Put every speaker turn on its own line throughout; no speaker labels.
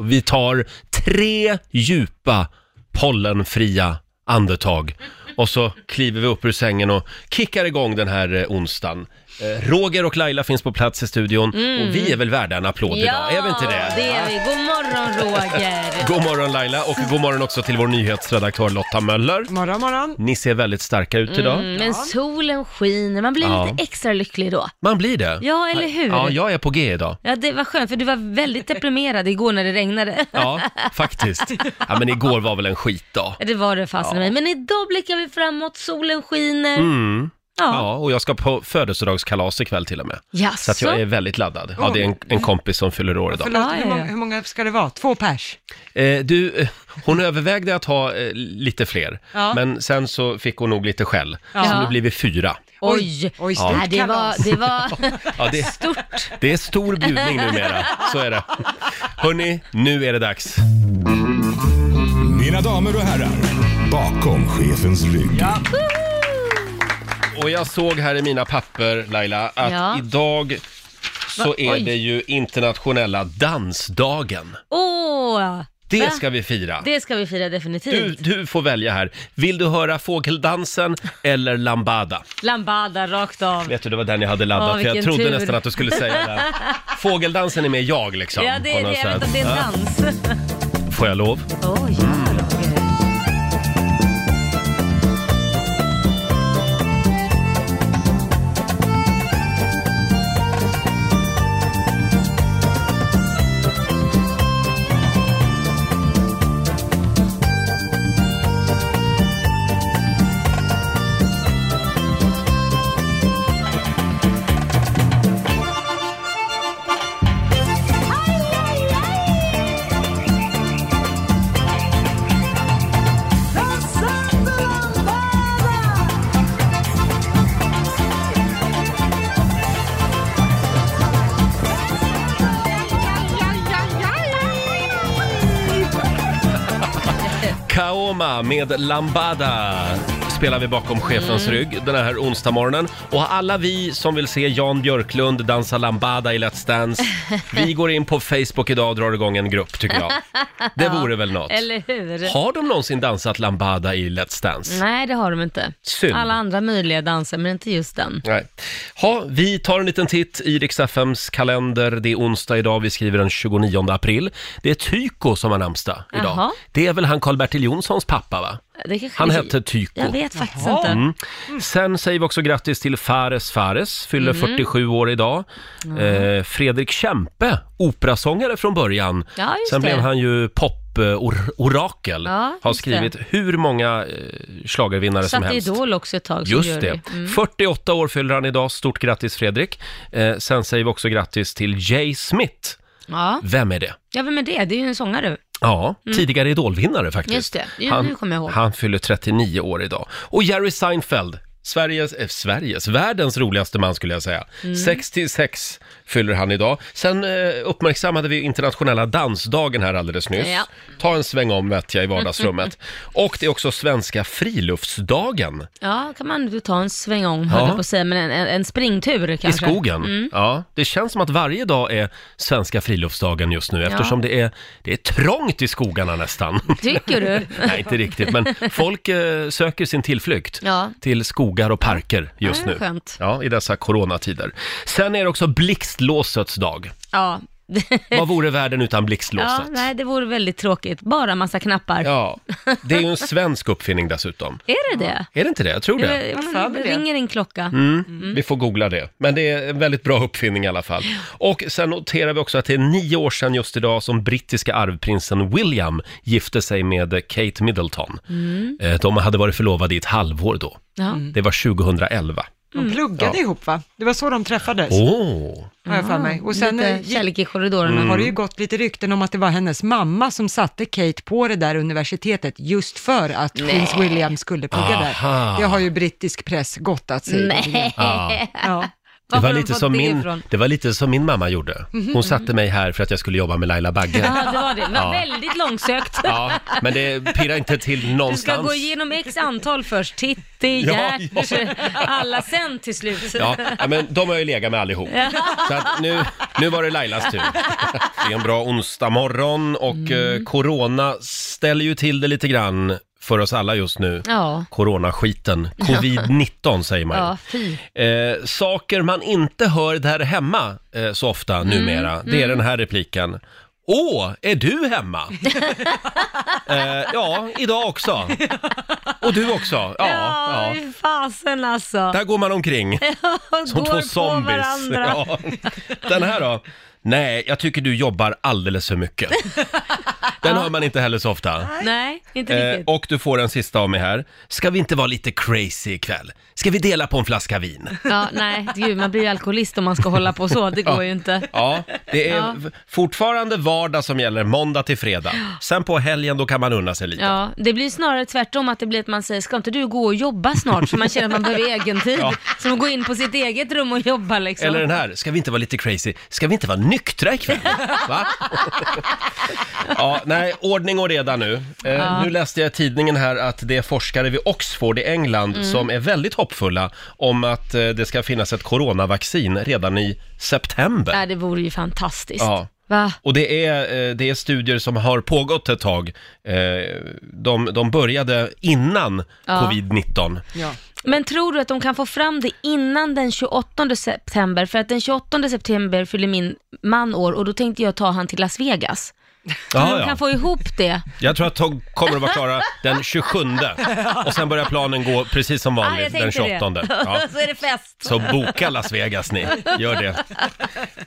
Vi tar tre djupa pollenfria andetag och så kliver vi upp ur sängen och kickar igång den här eh, onsdagen. Eh, Roger och Laila finns på plats i studion
Mm.
och vi är väl värda en applåd idag, är vi inte det?
det är vi. God morgon Roger.
God morgon Laila och god morgon också till vår nyhetsredaktör Lotta Möller.
Morgon, morgon.
Ni ser väldigt starka ut idag.
Mm, men solen skiner, man blir
Ja.
lite extra lycklig då.
Man blir det.
Ja, eller hur?
Ja, jag är på G idag.
Ja, det var skönt för du var väldigt deprimerad igår när det regnade.
Ja, faktiskt. Ja, men igår var väl en skitdag.
Det var det fasen i mig. Men idag blickar vi framåt, solen skiner.
Mm.
Ja.
Ja, och jag ska på födelsedagskalas ikväll till och med.
Jaså? Mm.
Så att jag är väldigt laddad. Ja, det är en, en kompis som fyller år idag.
Förlåt,
Ja, ja, ja.
hur, många, hur många ska det vara? Två pers?
Eh, du, eh, hon övervägde att ha eh, lite fler,
Ja.
men sen så fick hon nog lite skäll. Så
Ja.
nu blir vi fyra.
Oj!
Oj, stort
Nej, det var,
kalas.
det var
Ja, det,
stort.
det är stor bjudning numera, så är det. Hörni, nu är det dags.
Mina damer och herrar, bakom chefens rygg.
Och jag såg här i mina papper, Laila, att
Ja.
idag så
Va-
är
oj.
det ju internationella dansdagen.
Åh!
Det
Va?
ska vi fira.
Det ska vi fira definitivt.
Du, du får välja här. Vill du höra fågeldansen eller lambada?
Lambada rakt av.
Vet du, det var den jag hade laddat
Ja,
för jag
vilken
trodde
tur.
nästan att du skulle säga den. Fågeldansen är med jag liksom.
Ja, det
på
är det.
något
Jag vet
sätt.
att det är en
Ja.
dans.
Får jag lov?
Åh, ja, Roger.
Kaoma med Lambada spelar vi bakom chefens
Mm.
rygg den här onsdag morgonen. Och alla vi som vill se Jan Björklund dansa Lambada i Let's Dance, vi går in på Facebook idag och drar igång en grupp tycker jag. Det vore väl något.
Eller hur?
Har de någonsin dansat Lambada i Let's Dance?
Nej, det har de inte.
Synd.
Alla andra möjliga danser, men inte just den.
Nej. Ha, vi tar en liten titt i Rix FMs kalender. Det är onsdag idag, vi skriver den 29 april. Det är Tyko som har namnsdag idag.
Jaha.
Det är väl han Karl-Bertil Jonssons pappa va?
Det kanske
Han
vi-
hette Tyko.
Jag vet faktiskt
Jaha.
inte.
Mm. Sen säger vi också grattis till Fares Fares, fyller
Mm.
47 år idag. Eh, Fredrik Kempe, operasångare från början.
Ja, just
Sen
det.
blev han ju pop-orakel.
Ja, just
har skrivit hur många eh, schlagervinnare som
Satt i
helst.
Idol också Mm. ett tag som
Just
jury.
det. 48 år fyller han idag. Stort grattis Fredrik. Eh, sen säger vi också grattis till Jay Smith.
Ja.
Vem är det?
ja, vem är det? Det är ju en sångare.
Ja, tidigare Idolvinnare faktiskt.
Mm. Just det. Jo, nu kommer jag ihåg.
han fyller 39 år idag. Och Jerry Seinfeld, Sveriges, eh, Sveriges, världens roligaste man skulle jag säga.
Mm.
66 fyller han idag. Sen eh, uppmärksammade vi internationella dansdagen här alldeles nyss.
Ja.
Ta en sväng om vet jag i vardagsrummet. Och det är också svenska friluftsdagen.
Ja, kan man ju ta en sväng om, höll
Ja.
jag på att säga, men en, en, en springtur
I
kanske. Mm.
skogen. Ja, det känns som att varje dag är svenska friluftsdagen just nu eftersom det, är, det är trångt i skogarna nästan.
Tycker du?
Nej, inte riktigt, men folk eh, söker sin tillflykt
Ja.
till skogar och parker just
Ja, det är
nu.
skönt.
Ja, i dessa coronatider. Sen är det också blixtlåsets dag.
Ja.
Vad vore världen utan
ja,
blixtlåset?
nej, det vore väldigt tråkigt. Bara massa knappar.
Ja, det är ju en svensk uppfinning dessutom.
Är det det?
Är det inte det? Jag tror det. Mm.
Eller, om
Jag
man
för mig det.
ringer en klocka. Mm.
Vi får googla det. Men det är en väldigt bra uppfinning i alla fall. Och sen noterar vi också att det är nio år sedan just idag som brittiska arvprinsen William gifte sig med Kate Middleton.
Mm.
Eh, De hade varit förlovade i ett halvår då.
Ja.
Det var 2011.
Mm.
De pluggade
Ja. Oh.
ihop va? Det var så de träffades,
Åh!
har jag för mig. Och sen eh,
Lite
gick-
kärlek i korridorerna.
Mm.
har det ju gått lite rykten om att det var hennes mamma som satte Kate på det där universitetet just för att prins William skulle plugga
Aha.
där. Det har ju brittisk press gottat sig
Nej.
Ja.
Det
Var
var,
har de
lite
fått
som
det
min,
ifrån?
det var lite som min mamma gjorde. Hon satte mig här för att jag skulle jobba med Laila Bagge.
Mhm, Ja, det var det. Det var
Ja.
väldigt långsökt.
Ja, men det pirrar inte till
Du ska
någonstans.
gå igenom x antal först. Titti,
Ja,
Gert, alla sen till slut.
Ja, ja, men de har jag ju legat med allihop. Så att nu, nu var det Lailas tur. Det är en bra onsdag morgon och
Mm.
eh, corona ställer ju till det lite grann för oss alla just nu.
Ja.
Coronaskiten, covid-19 säger man ju.
Ja, fy.
Eh, saker man inte hör där hemma eh, så ofta
Mm,
numera, det är den här repliken. Åh, är du hemma? eh, ja, idag också. Och du också. Ja,
Ja,
ja.
hur fasen alltså.
Där går man omkring som
Går
två
på
zombies.
varandra.
Ja. Den här då? Nej, jag tycker du jobbar alldeles för mycket. Den hör man inte heller så ofta.
Nej, inte
Eh,
riktigt.
och du får en sista av mig här. Ska vi inte vara lite crazy ikväll? Ska vi dela på en flaska vin?
Ja, nej, gud, man blir ju alkoholist om man ska hålla på så. Det går ju inte.
Ja, det är
Ja.
v- fortfarande vardag som gäller, måndag till fredag. Sen på helgen då kan man unna sig lite. Ja.
Ja, det blir snarare tvärtom att det blir att man säger, ska inte du gå och jobba snart? För man känner att man behöver egen tid.
Ja.
Så man går in på sitt eget rum och jobbar liksom.
Eller den här, ska vi inte vara lite crazy? Ska vi inte vara nyktra ikväll? Va? ja, nej, ordning och reda nu. Eh, Nu läste jag i tidningen här att det är forskare vid Oxford i England som är väldigt hoppfulla om att eh, det ska finnas ett coronavaccin redan i september.
Nej, det vore ju fantastiskt.
Ja.
Va?
Och det är, eh, det är studier som har pågått ett tag. Eh, De, de började innan
Ja.
covid-19.
Ja.
Men tror du att de kan få fram det innan den 28 september? För att den 28 september fyller min man år och då tänkte jag ta han till Las Vegas. Men
Ja,
de
ja.
kan få ihop det.
Jag tror att de kommer att vara klara den 27 och sen börjar planen gå precis som
Ah, jag
vanligt den
tänkte
28.
det.
Ja.
så är det fest.
Så boka Las Vegas ni, gör det.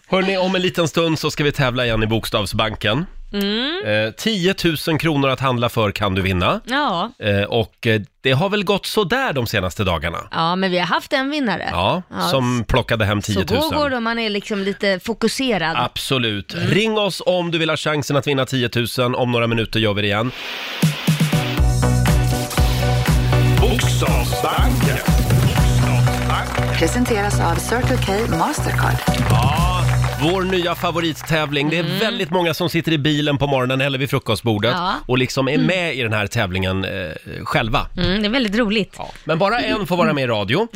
Hörni, om en liten stund så ska vi tävla igen i Bokstavsbanken.
Mm.
Eh, 10 000 kronor att handla för kan du vinna.
Ja.
Eh, och eh, det har väl gått sådär de senaste dagarna.
ja, men vi har haft en vinnare.
Ja, som plockade hem 10
Så
000.
då går det om man är liksom lite fokuserad.
Absolut. Ring oss om du vill ha chansen att vinna 10 000. Om några minuter gör vi det igen.
Bokstavsbanken.
Presenteras av Circle K Mastercard.
Vår nya favorittävling. Det är väldigt många som sitter i bilen på morgonen eller vid frukostbordet
Ja.
och liksom är med i den här tävlingen eh, själva.
Mm, det är väldigt roligt. Ja.
Ja. Men bara en får vara med i radio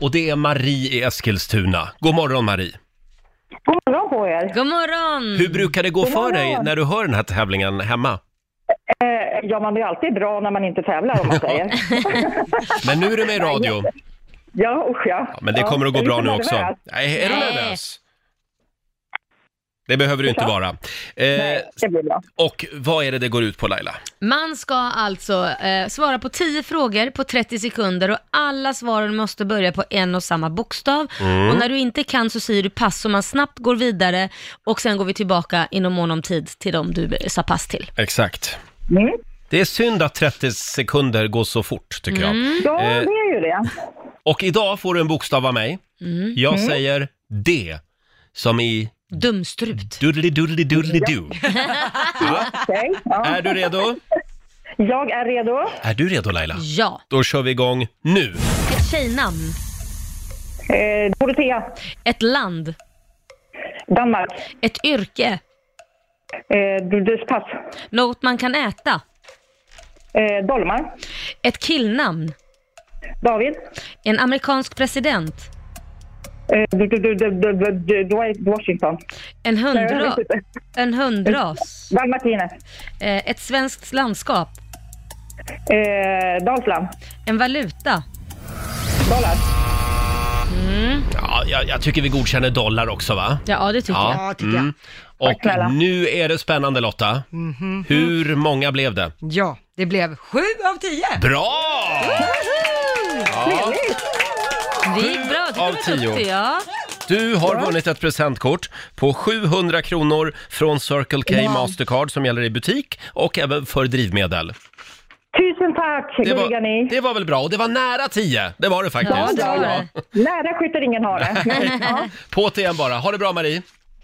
och det är Marie i Eskilstuna. God morgon Marie!
God morgon på er.
God morgon!
Hur brukar det gå för
morgon.
dig när du hör den här tävlingen hemma?
Eh, ja, man blir alltid bra när man inte tävlar om man säger.
Men nu är du med i radio.
ja, usch ja.
Ja, men det
Ja,
kommer att gå
jag är
bra
lite
nu också.
nervös.
Nej, är du
Nej.
nervös? Det behöver du inte vara. Eh,
Nej, det blir bra.
och vad är det det går ut på Laila?
Man ska alltså eh, svara på 10 frågor på 30 sekunder och alla svaren måste börja på en och samma bokstav. Och när du inte kan så säger du pass så man snabbt går vidare och sen går vi tillbaka inom mån om tid till de du eh, sa pass till.
Exakt.
Mm.
Det är synd att 30 sekunder går så fort tycker jag.
Mm. Ja,
Eh.
det är ju det.
Och idag får du en bokstav av mig.
Mm.
Jag
Mm.
säger D, som i
Dumstrut.
doodly-doodly-doodly-doo.
Okej, ja.
Är du redo?
Jag är redo.
Är du redo Laila?
Ja.
Då kör vi igång nu.
Ett tjejnamn.
Eh, Dorotea,
Ett land.
Danmark.
Ett yrke.
Eh, du- du- pass.
Något man kan äta.
Eh, Dolmar.
Ett killnamn.
David.
En amerikansk president.
Eh, du- du- du- du- du- du- du- Dwight Washington.
En
Nej, jag vet
hundras.
inte.
En hundras.
Dalmatiner.
Eh, ett svenskt landskap.
Eh, Dalsland.
En valuta. Mm.
Dollar.
Ja, jag, jag tycker vi godkänner dollar också va? Mm.
Ja, det tycker jag. Mm.
Ja, tycker jag.
Och
snälla.
nu är det spännande Lotta. Hur många blev det?
Mhm. Ja, det blev sju av tio.
Bra!
Det gick bra.
Av
Jag tycker du
tio.
var duktig. Ja.
Du har vunnit ett presentkort på 700 kronor från Circle K Mastercard som gäller i butik och även för drivmedel.
Tusen tack,
Det
gulliga
var,
ni.
det var väl bra och det var nära 10. Det var det faktiskt.
Ja, det var det.
Nära skytter ingen har det.
På till igen bara. Ha det bra Marie.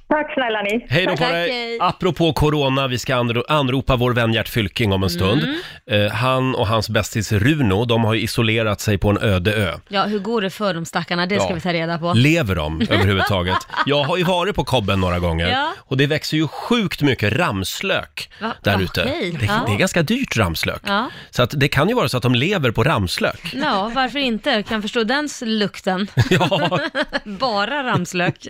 Tack snälla ni.
Hej då
Tack,
på dig!
hej.
Apropå corona, vi ska anro- anropa vår vän Gert Fylking om en stund.
Mm.
Eh, han och hans bästis Runo, de har ju isolerat sig på en öde ö.
Ja, hur går det för de stackarna? Det
Ja.
ska vi ta reda på.
Lever de överhuvudtaget? Jag har ju varit på Kobben några gånger
Ja.
och det växer ju sjukt mycket ramslök
Va?
där ute.
Okej,
Det,
ja.
det är ganska dyrt ramslök.
Ja.
Så att det kan ju vara så att de lever på ramslök.
Ja, varför inte? Kan förstå den s- lukten.
Ja,
Bara ramslök.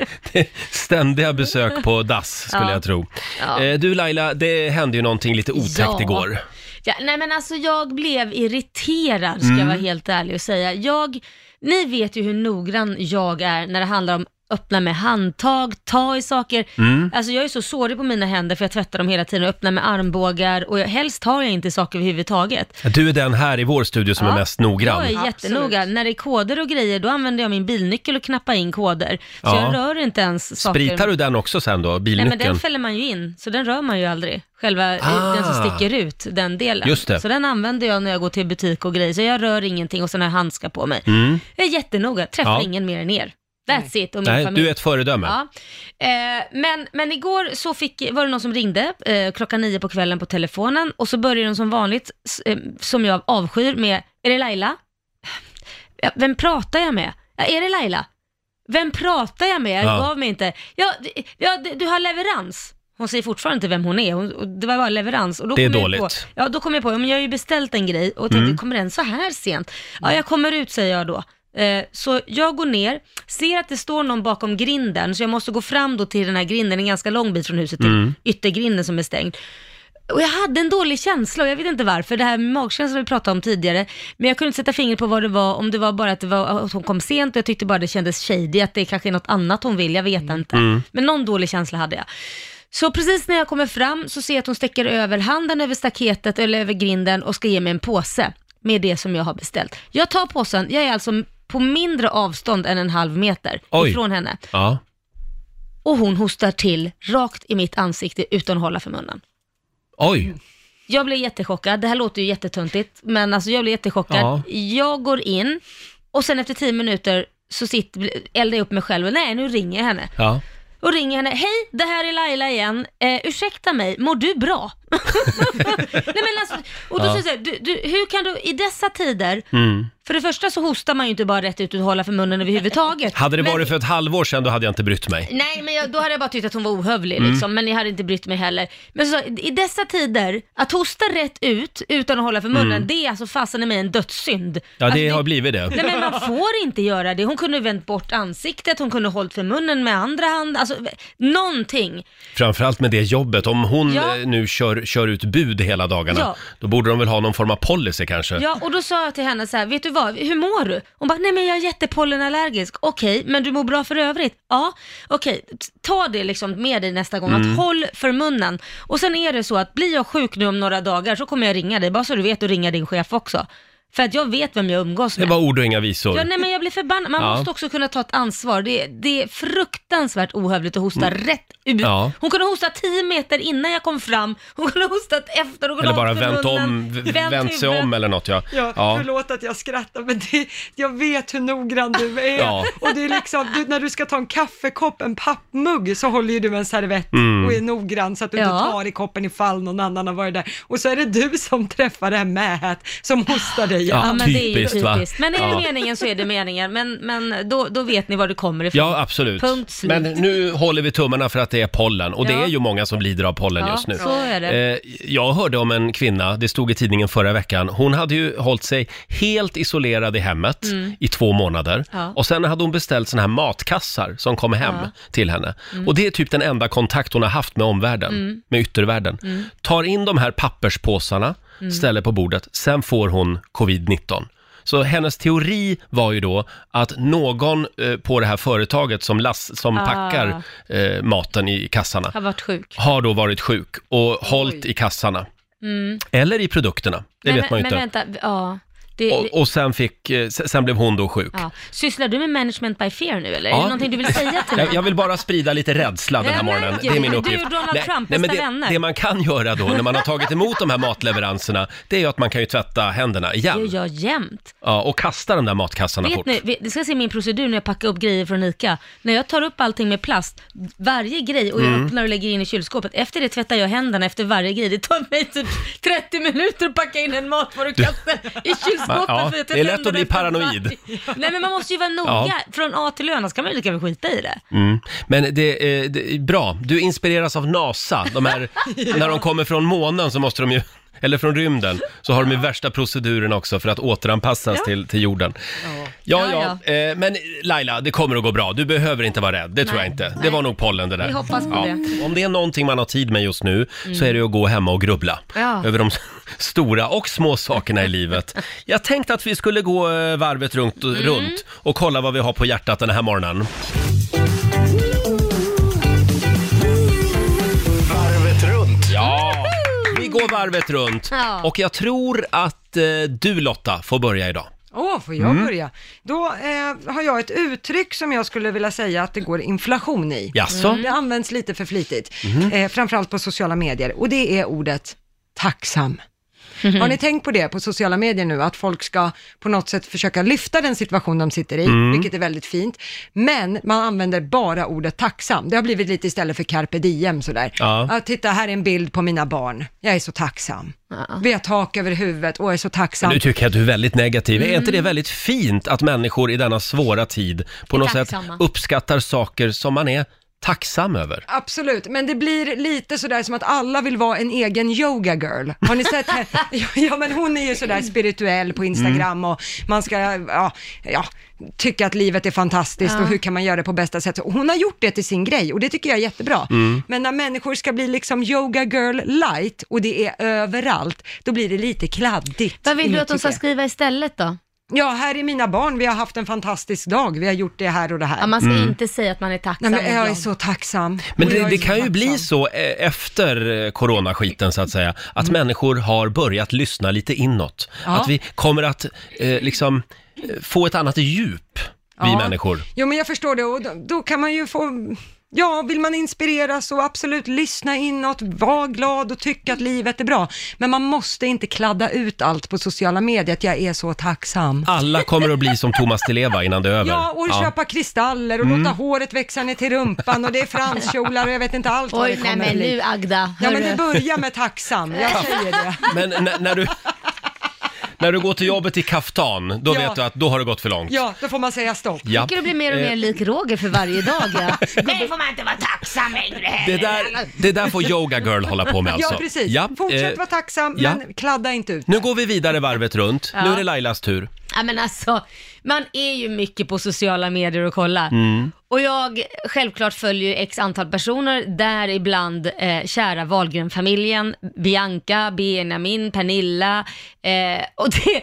ständiga besök på dass skulle
Ja.
jag tro.
Ja.
Eh, Du Laila, det hände ju någonting lite otäckt
Ja.
igår.
Ja, nej men alltså jag blev irriterad ska
Mm.
jag vara helt ärlig och säga. Jag, ni vet ju hur noggrann jag är när det handlar om öppna med handtag, ta i saker.
Mm.
Alltså jag är så sårig på mina händer för jag tvättar dem hela tiden och öppnar med armbågar och jag, helst tar jag inte saker överhuvudtaget.
Du är den här i vår studio som
Ja.
är mest noggrann.
Jag är jättenoga. När det är koder och grejer då använder jag min bilnyckel och knappar in koder. Så
Ja.
jag rör inte ens saker.
Spritar du den också sen då,
Nej men
bilnyckeln?
den fäller man ju in, så den rör man ju aldrig. Själva
Ah.
den som sticker ut, den delen.
Just det.
Så den använder jag när jag går till butik och grejer, så jag rör ingenting och sen har jag handskar på mig.
Mm.
Jag är jättenoga, träffar
Ja.
ingen mer än er. That's it och min
Nej,
familj.
du är ett föredöme.
Ja. Eh, men, men igår så fick, var det någon som ringde eh, klockan nio på kvällen på telefonen och så började de som vanligt, s- eh, som jag avskyr, med Är det Laila? Ja, Vem pratar jag med? Ja, är det Laila? Vem pratar jag med? Jag
Ja.
gav mig inte. Ja, d- ja, d- du har leverans. Hon säger fortfarande inte vem hon är. Hon, och det var bara leverans. Och då
Det är
kom jag
dåligt.
På, ja, då kom jag på, ja, men jag har ju beställt en grej och tänkte, kommer den så här sent? Ja, jag kommer ut säger jag då. Eh, Så jag går ner, ser att det står någon bakom grinden, så jag måste gå fram då till den här grinden, en ganska lång bit från huset, till yttergrinden som är stängd. Och jag hade en dålig känsla och jag vet inte varför, det här med magkänslan vi pratade om tidigare, men jag kunde inte sätta fingret på vad det var, om det var bara att, det var, att hon kom sent och jag tyckte bara det kändes shady, att det kanske är något annat hon vill, jag vet inte.
Mm.
Men någon dålig känsla hade jag. Så precis när jag kommer fram så ser jag att hon sträcker över handen över staketet eller över grinden och ska ge mig en påse med det som jag har beställt. Jag tar påsen, jag är alltså på mindre avstånd än en halv meter
Oj.
ifrån henne
Ja.
och hon hostar till rakt i mitt ansikte utan att hålla för munnen.
Oj,
Mm. Jag blev jättechockad, det här låter ju jättetöntigt, men alltså jag blev jättechockad.
Ja.
Jag går in och sen efter tio minuter så sitter, eldar jag upp mig själv och nej nu ringer jag henne.
ja.
Och ringer henne, hej det här är Laila igen, eh, ursäkta mig, mår du bra? nej men alltså, och då
Ja.
säger jag så här, du, du, hur kan du i dessa tider,
Mm.
för det första så hostar man ju inte bara rätt ut och hålla för munnen överhuvudtaget.
Hade det
Men-
varit för ett halvår sedan då hade jag inte brytt mig.
Nej, men jag, då hade jag bara tyckt att hon var ohövlig
Mm.
liksom, men jag hade inte brytt mig heller. Men så, i dessa tider, att hosta rätt ut utan att hålla för munnen, det är alltså fasen i mig en dödssynd.
Mm. Ja,
alltså,
det har blivit det.
Nej men man får inte göra det. Hon kunde vänt bort ansiktet, hon kunde hållit för munnen med andra hand, alltså någonting.
Framförallt med det jobbet. Om hon
Ja.
eh, nu kör, kör ut bud hela dagarna,
Ja.
då borde de väl ha någon form av policy kanske.
Ja, och då sa jag till henne så här, vet du vad, hur mår du? Hon bara, nej men jag är jättepollenallergisk. Okej, men du mår bra för övrigt? Ja, okej, t- ta det liksom med dig nästa gång,
Mm.
att håll för munnen. Och sen är det så att blir jag sjuk nu om några dagar så kommer jag ringa dig, bara så du vet och ringa din chef också. För att jag vet vem jag umgås
Det
med.
var ord och inga visor.
Ja, nej men jag blir förbannad. Man
Ja.
måste också kunna ta ett ansvar. Det, det är fruktansvärt ohövligt att hosta rätt ut.
Mm. Ja.
Hon kunde hosta 10 meter innan jag kom fram, hon kunde hostat efter, hon kunde
Eller
ha
bara
hållit för
vänt, om,
munnen,
v- vänt sig
huvudet.
om eller något ja.
Ja,
Ja.
förlåt att jag skrattar men det, jag vet hur noggrann du är.
Ja.
Och det är liksom, du, när du ska ta en kaffekopp, en pappmugg, så håller ju du en servett
Mm.
och är noggrann så att du
Ja.
inte tar i koppen ifall någon annan har varit där. Och så är det du som träffar det här mähet som hostar dig.
Ja.
Ja, men det är ju
Typiskt, va?
typiskt. Men är det
Ja.
meningen så är det meningen. Men, men då, då vet ni var det kommer ifrån.
Ja, absolut.
Punkt slut.
Men nu håller vi tummarna för att det är pollen och det
Ja.
är ju många som lider av pollen
Ja,
just nu.
så är det.
Eh, Jag hörde om en kvinna, det stod i tidningen förra veckan, hon hade ju hållit sig helt isolerad i hemmet i två månader
Mm. Ja.
och sen hade hon beställt såna här matkassar som kom hem till henne.
Mm.
Och det är typ den enda kontakt hon har haft med omvärlden, med yttervärlden.
Mm.
Tar in de här papperspåsarna, ställer på bordet, sen får hon covid-19. Så hennes teori var ju då att någon eh, på det här företaget som, lass, som
Ah.
packar eh, maten i kassarna
Har varit sjuk.
har då varit sjuk och hållit i kassarna. Eller i produkterna, det
Mm. men,
vet man ju
men
inte.
vänta, ja. Det,
Och, och sen, fick, eh, s- sen blev hon då sjuk.
ja. Sysslar du med management by fear nu eller?
Ja.
Är det någonting du vill säga till mig?
Jag, jag vill bara sprida lite rädsla den här
Nej, men
morgonen. Det
gud,
är min
du
uppgift.
och Donald Trump,
men
bästa
det,
vänner.
det man kan göra då när man har tagit emot de här matleveranserna, det är ju att man kan ju tvätta händerna
Det
igen.
gör jag jämt.
Ja, och kasta de där matkassarna
Vet
fort.
ni, vet- ni ska se min procedur när jag packar upp grejer från ICA. När jag tar upp allting med plast, varje grej och jag
Mm.
öppnar och lägger in i kylskåpet, efter det tvättar jag händerna efter varje grej. Det tar mig typ 30 minuter att packa in en matvarukasse i kylskåpet.
Ja,
för jag
det är lätt att
händerna
bli
efter
paranoid.
varje- Nej men man måste ju vara noga,
Ja.
från A till Ö, annars kan man ju lika väl skita i det.
Mm. Men det, eh, det är bra. Du inspireras av NASA. De här, När de kommer från månen så måste de ju, eller från rymden, så har de ju värsta proceduren också för att återanpassas till, till jorden. Ja, ja.
Ja,
Eh, men Laila, det kommer att gå bra. Du behöver inte vara rädd. Det tror jag inte. Det var nog pollen det där.
Vi hoppas på det.
Om det är någonting man har tid med just nu så är det ju att gå hemma och grubbla
Ja.
över de stora och små sakerna i livet. Jag tänkte att vi skulle gå eh, varvet runt,
Mm.
runt och kolla vad vi har på hjärtat den här morgonen.
Varvet runt.
Ja, vi går varvet runt.
Ja.
Och jag tror att eh, du Lotta får börja idag.
Åh, får jag
Mm.
börja? Då eh, har jag ett uttryck som jag skulle vilja säga att det går inflation i. Mm.
Jaså? Mhm.
Det används lite för flitigt, eh, framförallt på sociala medier, och det är ordet tacksam. Har ni tänkt på det på sociala medier nu, att folk ska på något sätt försöka lyfta den situation de sitter i,
Mm.
vilket är väldigt fint, men man använder bara ordet tacksam. Det har blivit lite istället för carpe diem sådär.
Ja.
Ah, titta, här är en bild på mina barn. Jag är så tacksam. Vi har tak över huvudet och jag är så tacksam.
Nu tycker jag att du är väldigt negativ. Är inte det
Mm.
väldigt fint att människor i denna svåra tid på
Är
något
tacksamma.
sätt uppskattar saker som man är tacksam över?
Absolut, men det blir lite sådär som att alla vill vara en egen yoga girl. Har ni sett henne? Ja, men hon är ju sådär spirituell på Instagram
Mm.
och man ska, ja, ja, tycka att livet är fantastiskt och hur kan man göra det på bästa sätt. Och Hon har gjort det till sin grej och det tycker jag är jättebra.
Mm.
Men när människor ska bli liksom yoga girl light och det är överallt, då blir det lite kladdigt.
Vad vill du
inne,
att de
tycker
ska
jag.
skriva istället då?
Ja, här är mina barn, vi har haft en fantastisk dag, vi har gjort det här och det här. Mm.
Ja, man ska inte säga att man är tacksam.
Nej, men
och
jag är
glad.
så tacksam.
Men
Och jag
det,
är
det
så
kan ju bli
tacksam.
så eh, efter eh, coronaskiten så att säga, att människor har börjat lyssna lite inåt.
Mm. Ja.
Att vi kommer att eh, liksom eh, få ett annat djup, vi
Ja.
människor.
Jo, men jag förstår det och då, då kan man ju få, ja, vill man inspireras så absolut lyssna inåt, var glad och tycka att livet är bra. Men man måste inte kladda ut allt på sociala medier, att jag är så tacksam.
Alla kommer att bli som Thomas Di Leva innan det Mm. är över.
Ja, och köpa kristaller och låta håret växa ner till rumpan och det är franskjolar och jag vet inte allt vad
Oj,
det
nej
kommer
men
bli.
nu Agda,
Ja, men
hörru.
det börjar med tacksam, jag säger det.
Men när, när, du, när du går till jobbet i kaftan, då
Ja.
vet du att då har det gått för långt.
Ja, då får man säga stopp.
Ja. Eh.
tycker du blir mer och mer lik Roger för varje dag. Ja. Nej, får man inte vara tacksam längre.
Det där, det där får Yoga Girl hålla på med alltså.
Ja, precis.
Ja,
Fortsätt
eh,
vara tacksam,
ja.
men kladda inte ut.
Nu går vi vidare varvet runt.
Ja.
Nu är det Lailas tur.
Ja, men alltså, man är ju mycket på sociala medier och kollar.
Mm.
Och jag självklart följer ju x antal personer, däribland eh, kära Wahlgren-familjen, Bianca, Benjamin, Pernilla. Eh, och det,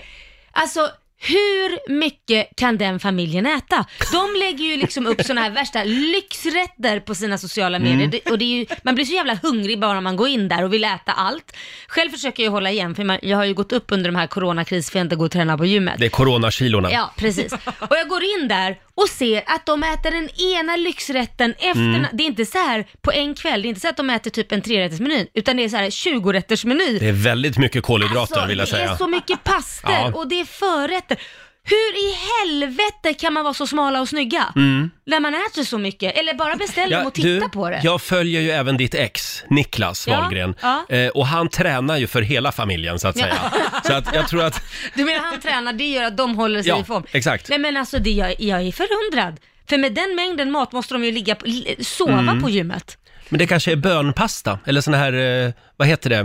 alltså, hur mycket kan den familjen äta? De lägger ju liksom upp sådana här värsta lyxrätter på sina sociala medier. Det, och det är ju, man blir så jävla hungrig bara man går in där och vill äta allt. Själv försöker jag hålla igen, för man- jag har ju gått upp under de här coronakrisen för jag inte går och tränar på gymmet.
Det är coronakilona.
Ja, precis. Och jag går in där och ser att de äter den ena lyxrätten efter
Mm.
den Det är inte så här på en kväll, det är inte så att de äter typ en trerättersmeny, utan det är så här 20-rättersmeny.
Det är väldigt mycket kolhydrater
Alltså,
vill jag
det är
säga.
så mycket pastor
Ja.
och det är förrätter. Hur i helvete kan man vara så smala och snygga? När man äter så mycket, eller bara beställer dem och titta
Mm. du,
på det.
Jag följer ju även ditt ex, Niklas
Ja,
Wahlgren.
ja.
Eh, och han tränar ju för hela familjen så att säga. Så att jag tror att
Du menar han tränar, det gör att de håller sig
Ja,
i form?
exakt.
Nej men alltså det, jag, jag är förundrad. För med den mängden mat måste de ju ligga på, li- sova
Mm.
på gymmet.
Men det kanske är bönpasta, eller sån här, eh, vad heter det,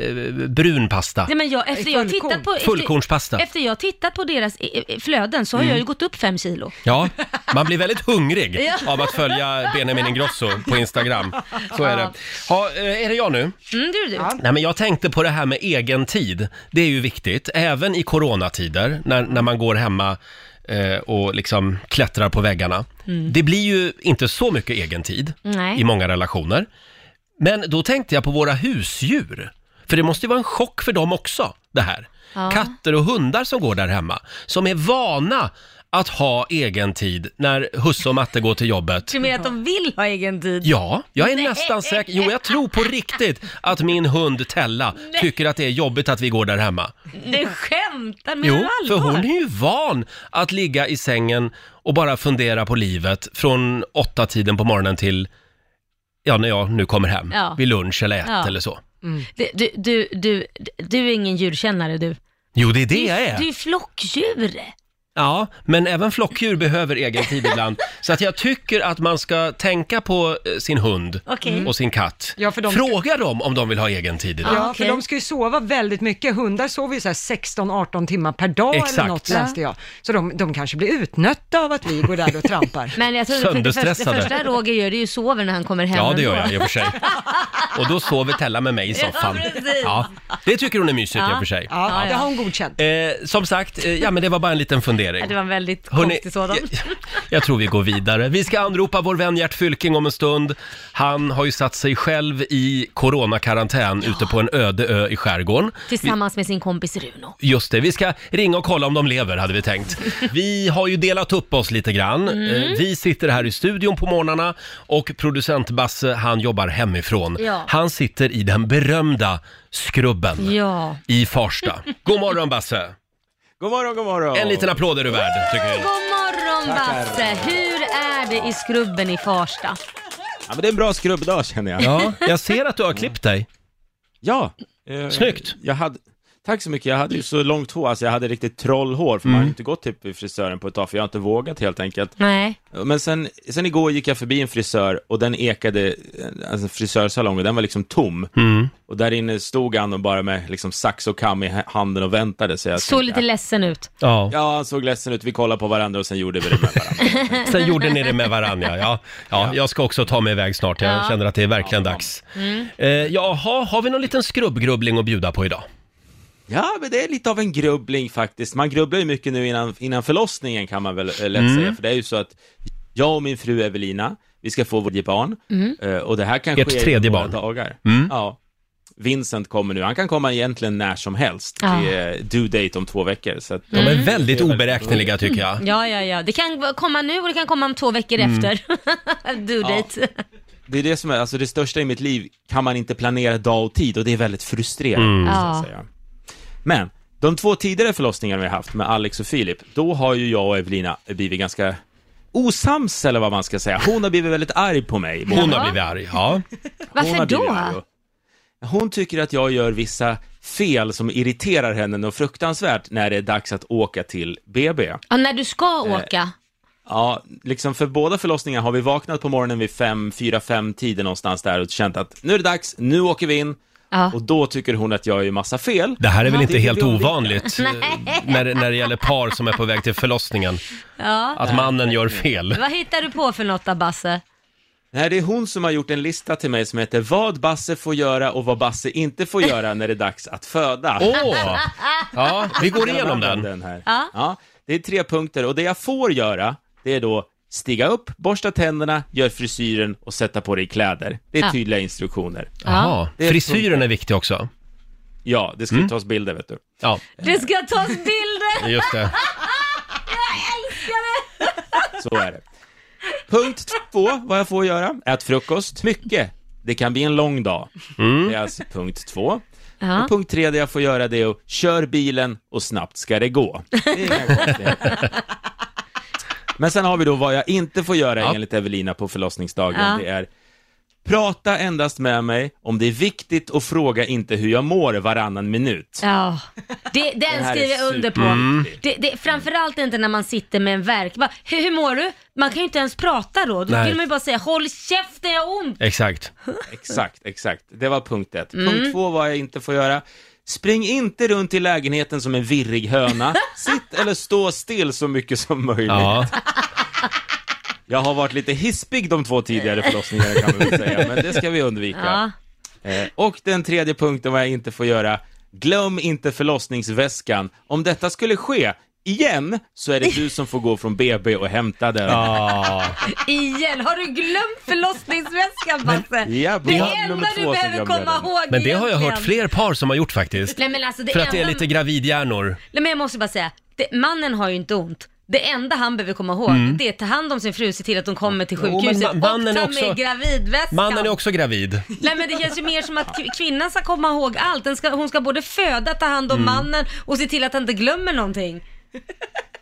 eh, brun pasta.
Nej, men jag, efter jag
Fullkorn.
tittat på, efter,
Fullkornspasta. Mm.
Efter jag tittat på deras eh, eh, flöden så har jag ju gått upp fem kilo.
Ja, man blir väldigt hungrig
Ja.
av att följa Benjamin Ingrosso på Instagram. Så är det. Ha, eh, är det jag nu?
Mm, du, du.
Nej, men jag tänkte på det här med egen tid. Det är ju viktigt, även i coronatider, när, när man går hemma eh, och liksom klättrar på väggarna. Det blir ju inte så mycket egen tid
Mm. Nej.
i många relationer. Men då tänkte jag på våra husdjur. För det måste ju vara en chock för dem också, det här.
Ja.
katter och hundar som går där hemma, som är vana att ha egen tid när husse och matte går till jobbet.
Du menar att de vill ha egen tid?
Ja, jag är nästan säker. Jo, jag tror på riktigt att min hund Tella tycker att det är jobbigt att vi går där hemma.
Du skämtar, menar
Jo,
du
för
allvar?
hon är ju van att ligga i sängen och bara fundera på livet från åtta tiden på morgonen till, ja, när jag nu kommer hem.
Ja.
Vid lunch eller ett
Ja.
eller så.
Du, du, du, du, du är ingen djurkännare du.
Jo, det är det jag är.
Du är flockdjur.
Ja, men även flockdjur behöver egen tid ibland. Så att jag tycker att man ska tänka på eh, sin hund
Okej.
och sin katt.
Ja, för de-
Fråga dem om de vill ha egen tid idag.
Ja,
Ah, okej.
för de ska ju sova väldigt mycket. Hundar sover ju så här 16-18 timmar per dag
Exakt.
eller något läste jag. Så de, de kanske blir utnötta av att vi går där och trampar.
Men jag tror att det första, det
Sönderstressade.
första Roger gör det är ju sover när han kommer hem.
Ja, det
ändå.
gör jag i och för sig. Och då sover Tella med mig i soffan.
Ja, precis.
det tycker hon är mysigt i
Ja.
och för sig.
Ja,
Ja,
det
ja.
har hon godkänt.
Eh, som sagt, eh, ja men det var bara en liten fundering.
Ja, Det var en väldigt
Hörrni,
konstig sådan.
jag, jag tror vi går vidare. Vi ska anropa vår vän Gert Fylking om en stund. Han har ju satt sig själv i coronakarantän ute på en öde ö i skärgården.
Tillsammans med sin kompis Runo.
Just det, vi ska ringa och kolla om de lever hade vi tänkt. Vi har ju delat upp oss lite grann.
Mm.
Eh, Vi sitter här i studion på morgnarna och producent Basse han jobbar hemifrån.
Ja.
Han sitter i den berömda skrubben
Ja.
i Farsta. God morgon Basse!
God morgon, god morgon.
En liten applåd är du värd tycker
God
jag.
morgon Basse! Hur är det i skrubben i Farsta?
Ja, men det är en bra skrubbdag känner jag.
Ja, jag ser att du har klippt dig.
Ja. eh,
Snyggt.
Jag hade... Tack så mycket. Jag hade ju så långt hår, alltså jag hade riktigt trollhår, för
Mm.
man har inte gått typ i frisören på ett tag, för jag har inte vågat helt enkelt.
Nej.
Men sen, sen igår gick jag förbi en frisör och den ekade, eh, alltså en frisörsalong, och den var liksom tom.
Mm.
Och där inne stod han och bara med liksom sax och kam i ha- handen och väntade. Så jag
Såg
tänkte,
lite ledsen ut.
Ja.
Ja, han såg ledsen ut. Vi kollade på varandra och sen gjorde vi det med varandra.
Sen gjorde ni det med varandra, ja. ja. Jag ska också ta mig iväg snart, jag
Ja.
känner att det är verkligen dags.
Mm.
Eh, jaha, har vi någon liten skrubbgrubbling att bjuda på idag?
Ja, men det är lite av en grubbling faktiskt. Man grubblar ju mycket nu innan, innan förlossningen kan man väl eh, lätt
Mm.
säga, för det är ju så att jag och min fru Evelina, vi ska få vårt barn,
Mm.
Eh, och det här kan
Ert
ske i
tredje
några
barn. Mm.
dagar. Ja. Vincent kommer nu, han kan komma egentligen när som helst.
Ja. Mm.
Det är due date om två veckor. Så att,
De är väldigt oberäkneliga tycker jag.
Ja, ja, ja. Det kan komma nu och det kan komma om två veckor efter. Due date.
Det är det som är, alltså det största i mitt liv kan man inte planera dag och tid och det är väldigt frustrerande.
Mm.
måste jag
Ja.
säga. Men, de två tidigare förlossningarna vi har haft med Alex och Filip, då har ju jag och Evelina blivit ganska osams eller vad man ska säga. Hon har blivit väldigt arg på mig. Hon
Hon
Ja.
har blivit arg, ja.
Varför
har blivit
då?
arg och- Hon tycker att jag gör vissa fel som irriterar henne något fruktansvärt när det är dags att åka till BB.
Ja, när du ska
Eh,
åka?
Ja, liksom för båda förlossningar har vi vaknat på morgonen vid fem, fyra, fem tiden någonstans där och känt att nu är det dags, nu åker vi in.
Ja.
Och då tycker hon att jag gör massa fel.
Det här är väl
Ja.
inte
Det vill
helt
vi undvika.
ovanligt eh, när, det- när det gäller par som är på väg till förlossningen,
ja.
att mannen gör fel.
Vad hittar du på för något då, Basse?
Nej, det är hon som har gjort en lista till mig som heter vad Basse får göra och vad Basse inte får göra när det är dags att föda.
Åh! Ja, vi går igenom den.
här.
Ja.
Ja, det är tre punkter och det jag får göra, det är då stiga upp, borsta tänderna, gör frisyren och sätta på dig kläder. Det är
Ja.
tydliga instruktioner.
Jaha,
Det är
frisyren är viktig också. Mm.
Ja, det ska ju tas bilder vet du.
Ja,
Det ska tas bilder!
just det.
Så är det. Punkt två, vad jag får göra. Ät frukost. Mycket. Det kan bli en lång dag. Det är alltså punkt två.
Ja.
Och punkt tre, det jag får göra det är att kör bilen och snabbt ska det gå. Det är inga konstigheter. Men sen har vi då vad jag inte får göra
Ja.
enligt Evelina på förlossningsdagen.
Ja.
Det är prata endast med mig om det är viktigt och fråga inte hur jag mår varannan minut.
Ja, det, den
här är
skriver jag under på.
Mm.
Det, det, framförallt inte när man sitter med en värk. Va, Hur, hur mår du? Man kan ju inte ens prata då. Då
Nej.
vill man ju bara säga håll käften, jag har ont.
Exakt.
Exakt, exakt. Det var punkt ett. Punkt två var jag inte får göra. Spring inte runt i lägenheten som en virrig höna. Sitt eller stå still så mycket som möjligt.
Ja.
Jag har varit lite hispig de två tidigare förlossningarna kan man väl säga, men det ska vi undvika.
Ja.
Eh, Och den tredje punkten vad jag inte får göra. Glöm inte förlossningsväskan. Om detta skulle ske, igen så är det du som får gå från BB och hämta den.
Ja.
Igen, har du glömt förlossningsväskan Basse?
ja,
Det
barn nummer
enda du
två som
behöver
glömde
komma
den.
ihåg
Men det har jag
egentligen.
hört fler par som har gjort faktiskt.
Nej men alltså det
För att det är
enda...
lite gravidhjärnor.
Nej, men jag måste bara säga, det, mannen har ju inte ont. Det enda han behöver komma ihåg, det är att ta hand om sin fru, se till att hon kommer till
Mm. Jo, men
sjukhuset
ma- mannen
och ta
är också-
med gravidväskan.
Mannen är också gravid.
Nej men det känns ju mer som att k- kvinnan ska komma ihåg allt. Den ska, hon ska både föda, ta hand om
Mm.
mannen och se till att han inte glömmer någonting.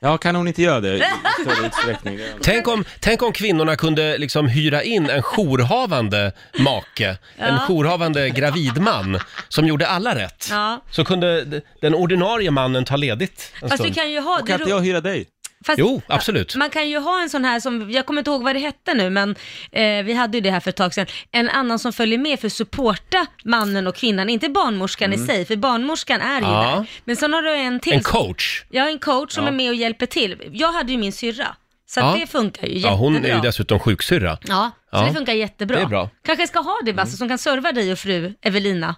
Ja, kan hon inte göra det i större utsträckning? Det är-
Tänk om, tänk om kvinnorna kunde liksom hyra in en jourhavande make, en jourhavande gravidman som gjorde alla rätt.
Ja.
Så kunde d- den ordinarie mannen ta ledigt en
Fast du
stund.
kan ju ha... det
Kan inte
ro-
jag hyra dig?
Fast,
Jo, absolut.
Man kan ju ha en sån här som, jag kommer inte ihåg vad det hette nu, men eh, vi hade ju det här för ett tag sedan. En annan som följer med för att supporta mannen och kvinnan, inte barnmorskan i sig, för barnmorskan är ju
Mm. Ja.
där. Men sen har du en till.
En coach.
jag har en coach som är med och hjälper till. Jag hade ju min syrra, så
Ja.
att det funkar ju jättebra.
Ja, hon är ju dessutom sjuksyrra.
Ja, så
Ja.
det funkar jättebra.
Det är bra. Mm.
Kanske ska ha det Basse, som kan serva dig och fru Evelina.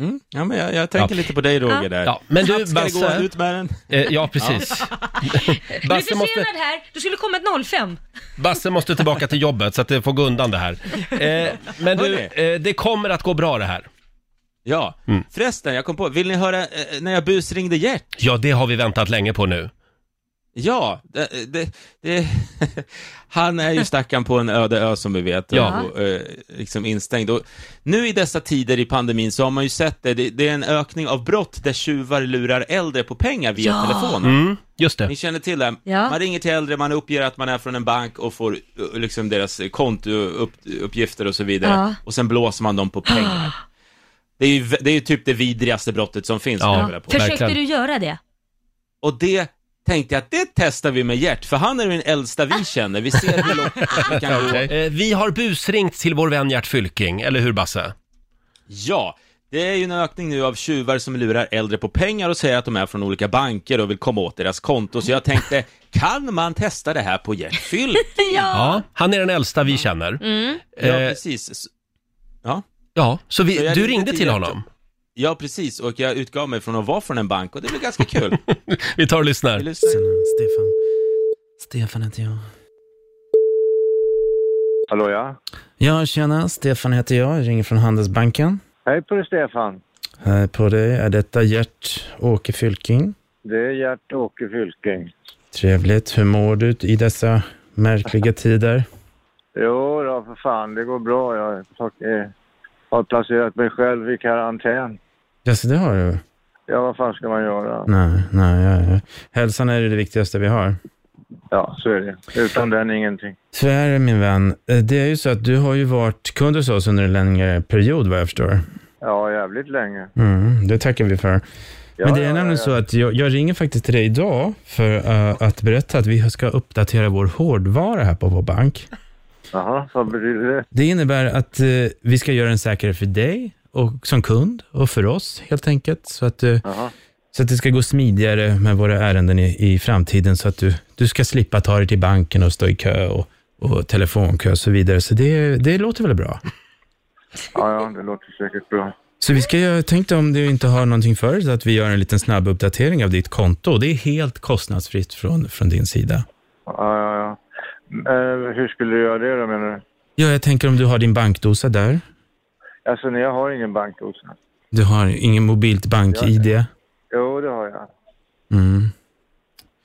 Mm? Ja, men jag, jag tänker
Ja.
lite på dig Roger där.
Ja, men du
Ska det gå
Basse,
ut med den?
eh, ja precis.
Du är
Basse,
försenad
måste,
här, du skulle komma ett 05.
Basse måste tillbaka till jobbet så att det får gå undan det här. Eh, men du, eh, det kommer att gå bra det här. Mm.
Ja, förresten, jag kom på, vill ni höra eh, när jag busringde Gert?
Ja, det har vi väntat länge på nu.
Ja, det, det, det, han är ju stackaren på en öde ö som vi vet,
Ja.
och, eh, liksom instängd. Och nu i dessa tider i pandemin så har man ju sett det, det, det är en ökning av brott där tjuvar lurar äldre på pengar via
Ja.
telefonen.
Mm, just det.
Ni känner till det?
Ja.
Man ringer till äldre, man uppger att man är från en bank och får eh, liksom deras kontouppgifter och så vidare.
Ja.
Och sen blåser man dem på pengar. Det är ju, det är ju typ det vidrigaste brottet som finns.
Ja.
skulle jag vilja påstå.
Försökte
verkligen.
du göra det?
Och det tänkte jag att det testar vi med Gert, för han är den äldsta vi känner. Vi ser hur långt vi kan gå.
Eh, vi har busringt till vår vän Gert Fylking, eller hur Basse?
Ja, det är ju en ökning nu av tjuvar som lurar äldre på pengar och säger att de är från olika banker och vill komma åt deras konto. Så jag tänkte, kan man testa det här på Gert Fylk?
Ja. Han är den äldsta vi känner.
Mm.
Ja,
Eh,
precis. S-
ja, så vi,
Så jag
du
ringde
ringde
till
till
Gert.
honom.
Ja, precis. Och jag utgav mig från att vara från en bank och det blev ganska kul.
Vi tar och lyssnar.
Vill du se?
Stefan. Stefan heter jag.
Hallå ja.
Ja, tjena. Stefan heter jag. Jag ringer från Handelsbanken.
Hej på dig Stefan.
Här på dig är detta Gert Åke Fylking.
Det är Gert-Åke Fylking.
Trevligt. Hur mår du i dessa märkliga tider?
Jo då, för fan det går bra. Jag har- eh, har placerat mig själv i karantän.
Jaså, det har du?
Ja, vad fan ska man göra?
Nej, nej. Ja, ja. Hälsan är det viktigaste vi har.
Ja, så är det. Utan den ingenting.
Så är det, min vän. Eh, Det är ju så att du har ju varit kund hos oss under en längre period, vad jag förstår.
Ja, jävligt länge.
Mm, det tackar vi för.
Ja,
Men det är
ja,
nämligen
ja.
så att jag, jag ringer faktiskt till dig idag för eh, att berätta att vi ska uppdatera vår hårdvara här på vår bank.
Jaha, vad betyder det?
Det innebär att eh, vi ska göra den säkrare för dig och som kund och för oss helt enkelt. Så att, eh,
Jaha.
så att det ska gå smidigare med våra ärenden i, i framtiden så att du, du ska slippa ta dig till banken och stå i kö och, och telefonkö och så vidare. Så det, det låter väl bra.
Ja, ja, det låter säkert bra.
Så vi ska, jag tänkte om du inte har någonting för dig, så att vi gör en liten snabb uppdatering av ditt konto. Det är helt kostnadsfritt från, från din sida.
Ja, ja, ja. Eh, hur skulle du göra det då menar du?
Ja, jag tänker om du har din bankdosa där.
Alltså, nej, jag har ingen bankdosa.
Du har ingen mobilt bank-id.
Jo, det har jag.
Mm.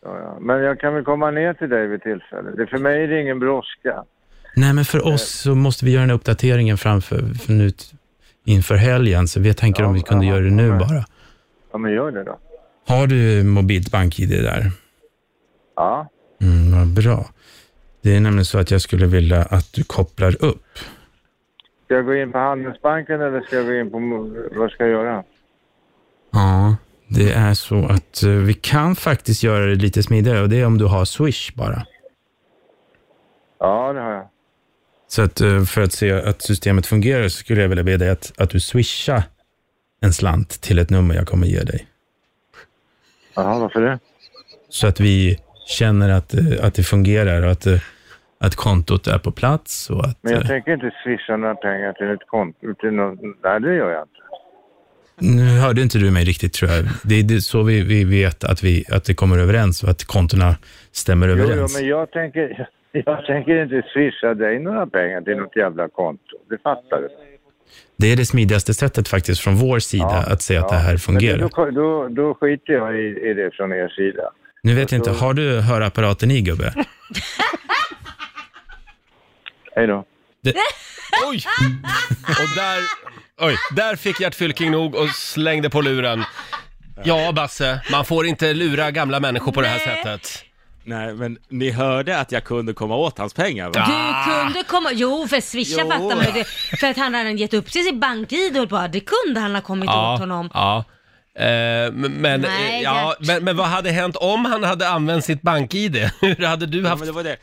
Ja, ja. Men jag kan väl komma ner till dig vid tillfälle. Det, för mig är det ingen brådska.
Nej, men för oss så måste vi göra den här uppdateringen framför, för nu, inför helgen, så vi tänker om vi kunde
ja,
göra det nu
ja.
bara.
Ja, men gör det då.
Har du mobilt bank-id där?
Ja.
Mm, vad bra. Det är nämligen så att jag skulle vilja att du kopplar upp.
Ska jag gå in på Handelsbanken eller ska jag gå in på... Vad ska jag göra?
Ja, det är så att eh, vi kan faktiskt göra det lite smidigare och det är om du har Swish bara.
Ja, det har jag.
Så att eh, för att se att systemet fungerar så skulle jag vilja be dig att, att du swishar en slant till ett nummer jag kommer ge dig.
Jaha, varför det?
Så att vi känner att, eh, att det fungerar och att, eh, att kontot är på plats. Och att,
Men jag
eh,
tänker inte swisha några pengar till ett konto. Till något, nej, det gör jag inte.
Nu hörde inte du mig riktigt tror jag. Det är det, så vi, vi vet att, vi, att det kommer överens och att kontona stämmer
Jo, jo,
överens.
men jag tänker, jag tänker inte swisha dig några pengar till något jävla konto. Det fattar du.
Det är det smidigaste sättet faktiskt från vår sida att säga att det här
Men
fungerar.
Då, då, då skiter jag i, i det från er sida.
Nu vet jag inte, har du hörapparaten i gubbe?
Hej då.
Oj! Och där, oj, där fick Gert Fylking nog och slängde på luren. Ja, Basse, man får inte lura gamla människor på det här
Nej.
sättet.
Nej, men ni hörde att jag kunde komma åt hans pengar
Ah.
va?
Du kunde komma... Jo, för Swisha
Jo.
fattar man ju det. För att han hade gett upp till sitt bank-id och bara, det kunde han ha kommit åt honom.
ja. Eh, men, men,
Nej,
eh, ja,
Gert.
men, men vad hade hänt om han hade använt sitt bank-id? Hur hade du
Ja,
haft...
men det var det.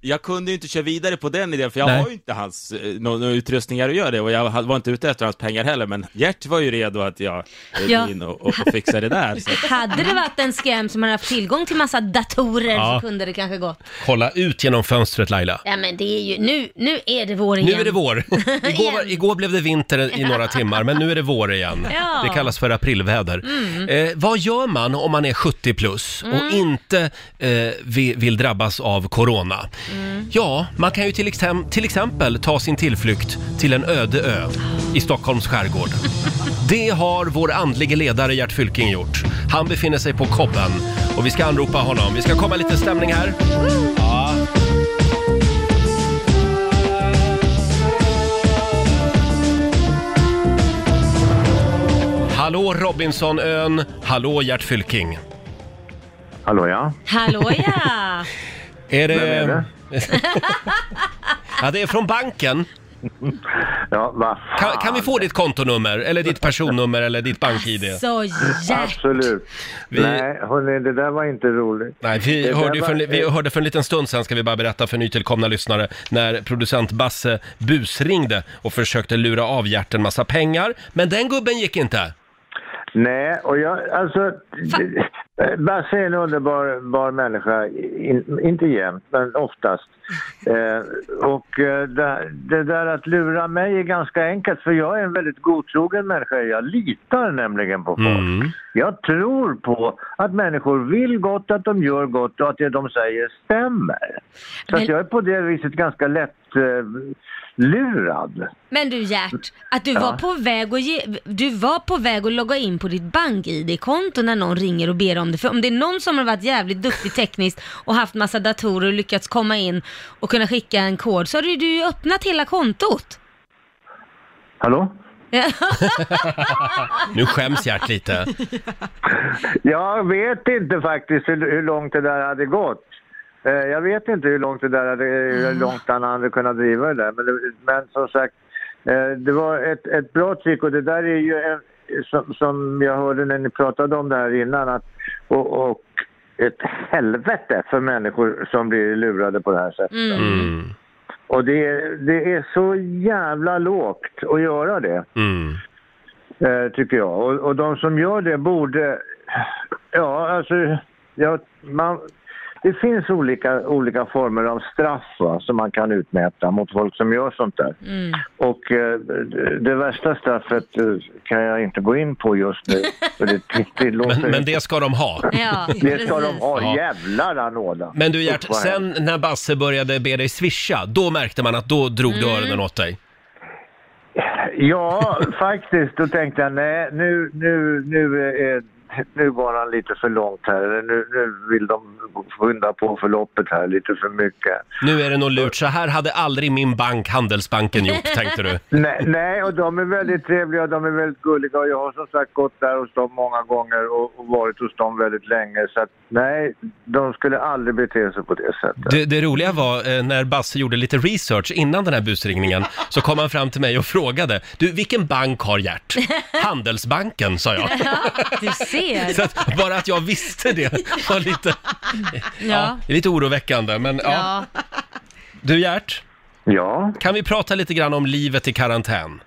Jag kunde ju inte köra vidare på den idén, för jag
Nej.
har ju inte hans eh, nå- några utrustningar att göra det, och jag ha- var inte ute efter hans pengar heller, men Gert var ju redo att jag eh,
Ja.
gå in och, och och fixa det där. Så.
Hade det varit en scam som hade haft tillgång till massa datorer
Ja.
så kunde det kanske gått.
Kolla ut genom fönstret Laila.
Ja men det är ju, nu, nu är det vår
Nu
igen.
är det vår. Igår, var,
Igen.
igår blev det vinter i några timmar, men nu är det vår igen.
Ja. Mm.
Det kallas för aprilväder. Eh, vad gör man om man är 70 plus och inte eh, vi- vill drabbas av corona?
Mm.
Ja, man kan ju till, exem- till exempel ta sin tillflykt till en öde ö i Stockholms skärgård. Det har vår andlige ledare Gert Fylking gjort. Han befinner sig på Kobben och vi ska anropa honom. Vi ska komma lite stämning här. Hallå Robinsonön, hallå Gert Fylking.
Hallå ja.
Hallå ja!
Är det...
Vem är det?
ja, det är från banken.
Ja, va
Kan,
fan.
kan vi få ditt kontonummer, eller ditt personnummer, eller ditt bank-id?
Så Gert!
Absolut.
Vi-
Nej, hörni, det där var inte roligt.
Nej, vi
Det
hörde, ju
där
för
var- eh,
en, vi hörde för en liten stund sen, ska vi bara berätta för nytillkomna lyssnare, när producent Basse busringde och försökte lura av Gert en massa pengar. Men den gubben gick inte.
Nej, och jag, alltså... eh, Basse är en underbar bar människa, in, inte jämt, men oftast. Eh, och eh, det, det där att lura mig är ganska enkelt, för jag är en väldigt godtrogen människa. Jag litar nämligen på folk.
Mm.
Jag tror på att människor vill gott, att de gör gott och att det de säger stämmer. Så
Men-
att jag är på det viset ganska lätt eh, lurad.
Men du Gert, att du var på väg att ge, du var på väg att logga in på ditt bank-id-konto när någon ringer och ber om det. För om det är någon som har varit jävligt duktig tekniskt och haft massa datorer och lyckats komma in och kunna skicka en kod så har du du har ju öppnat hela kontot.
Hallå?
Nu skäms Gert lite.
Jag vet inte faktiskt hur, hur långt det där hade gått. Eh, Jag vet inte hur långt, det där hade, hur långt han hade kunnat driva det där. Men, det, men som sagt, eh, det var ett, ett bra trick och det där är ju en, som, som jag hörde när ni pratade om det här innan. Att, och, och ett helvete för människor som blir lurade på det här sättet.
Mm.
Och det, är- det är så jävla lågt att göra det
Mm.
eh, tycker jag. Och, och de som gör det borde... Ja, alltså... Ja, man, det finns olika, olika former av straff va, som man kan utmäta mot folk som gör sånt där.
Mm.
Och eh, det- det värsta straffet eh, kan jag inte gå in på just nu. För det, det, det låter...
Men, men det ska de ha.
Ja,
det ska de
precis.
ha,
Ja.
jävlar anåda.
Men du Gert,
Usch, vad
sen när Basse började be dig swisha, då märkte man att då drog
Mm.
du öronen åt dig.
Ja, faktiskt. Då tänkte jag nej, nu, nu, nu, är, nu går han lite för långt här. Eller Nu, nu vill de skynda på förloppet här lite för mycket.
Nu är det nog lurt. Så här hade aldrig min bank, Handelsbanken, gjort, tänkte du.
Nej, nej, och de är väldigt trevliga och de är väldigt gulliga. Och jag har som sagt gått där hos dem många gånger och, och varit hos dem väldigt länge. Så att, nej, de skulle aldrig bete sig på det sättet.
Det, det roliga var eh, när Basse gjorde lite research innan den här busringningen så kom han fram till mig och frågade Du, vilken bank har Gert? Handelsbanken, sa jag.
Du ser.
Så att, bara att jag visste det var lite,
Ja.
det är lite oroväckande. Men ja.
Ja.
Du Gert,
Ja.
kan vi prata lite grann om livet i karantän?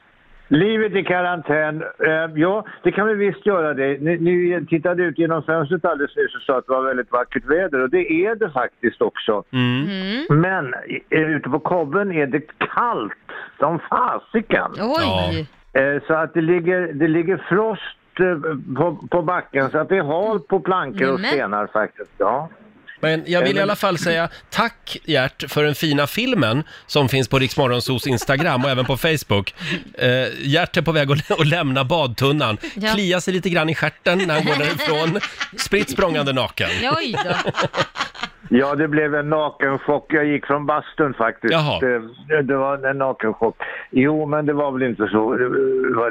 Livet i karantän. Eh, ja, det kan vi visst göra det. Ni, ni tittade ut genom fönstret alldeles nyss och sa att det var väldigt vackert väder och det är det faktiskt också.
Mm.
Mm.
Men i- ute på kobben är det kallt som fasiken.
Oj.
Ja.
Eh, Så att det ligger, det ligger frost eh, på, på backen så att det är halt på plankor och
Nämen.
stenar faktiskt. Ja.
Men jag vill i alla fall säga tack Gert för den fina filmen som finns på Riksmorgonsos Instagram och även på Facebook. Eh, Gert är på väg att, lä- att lämna badtunnan,
Ja.
kliar sig lite grann i stjärten när han går därifrån, spritt språngande naken.
Ja, oj då.
Ja, det blev en nakenchock. Jag gick från bastun faktiskt. Eh,
Jaha.
Det, det var en nakenchock. Jo, men det var väl inte så... Var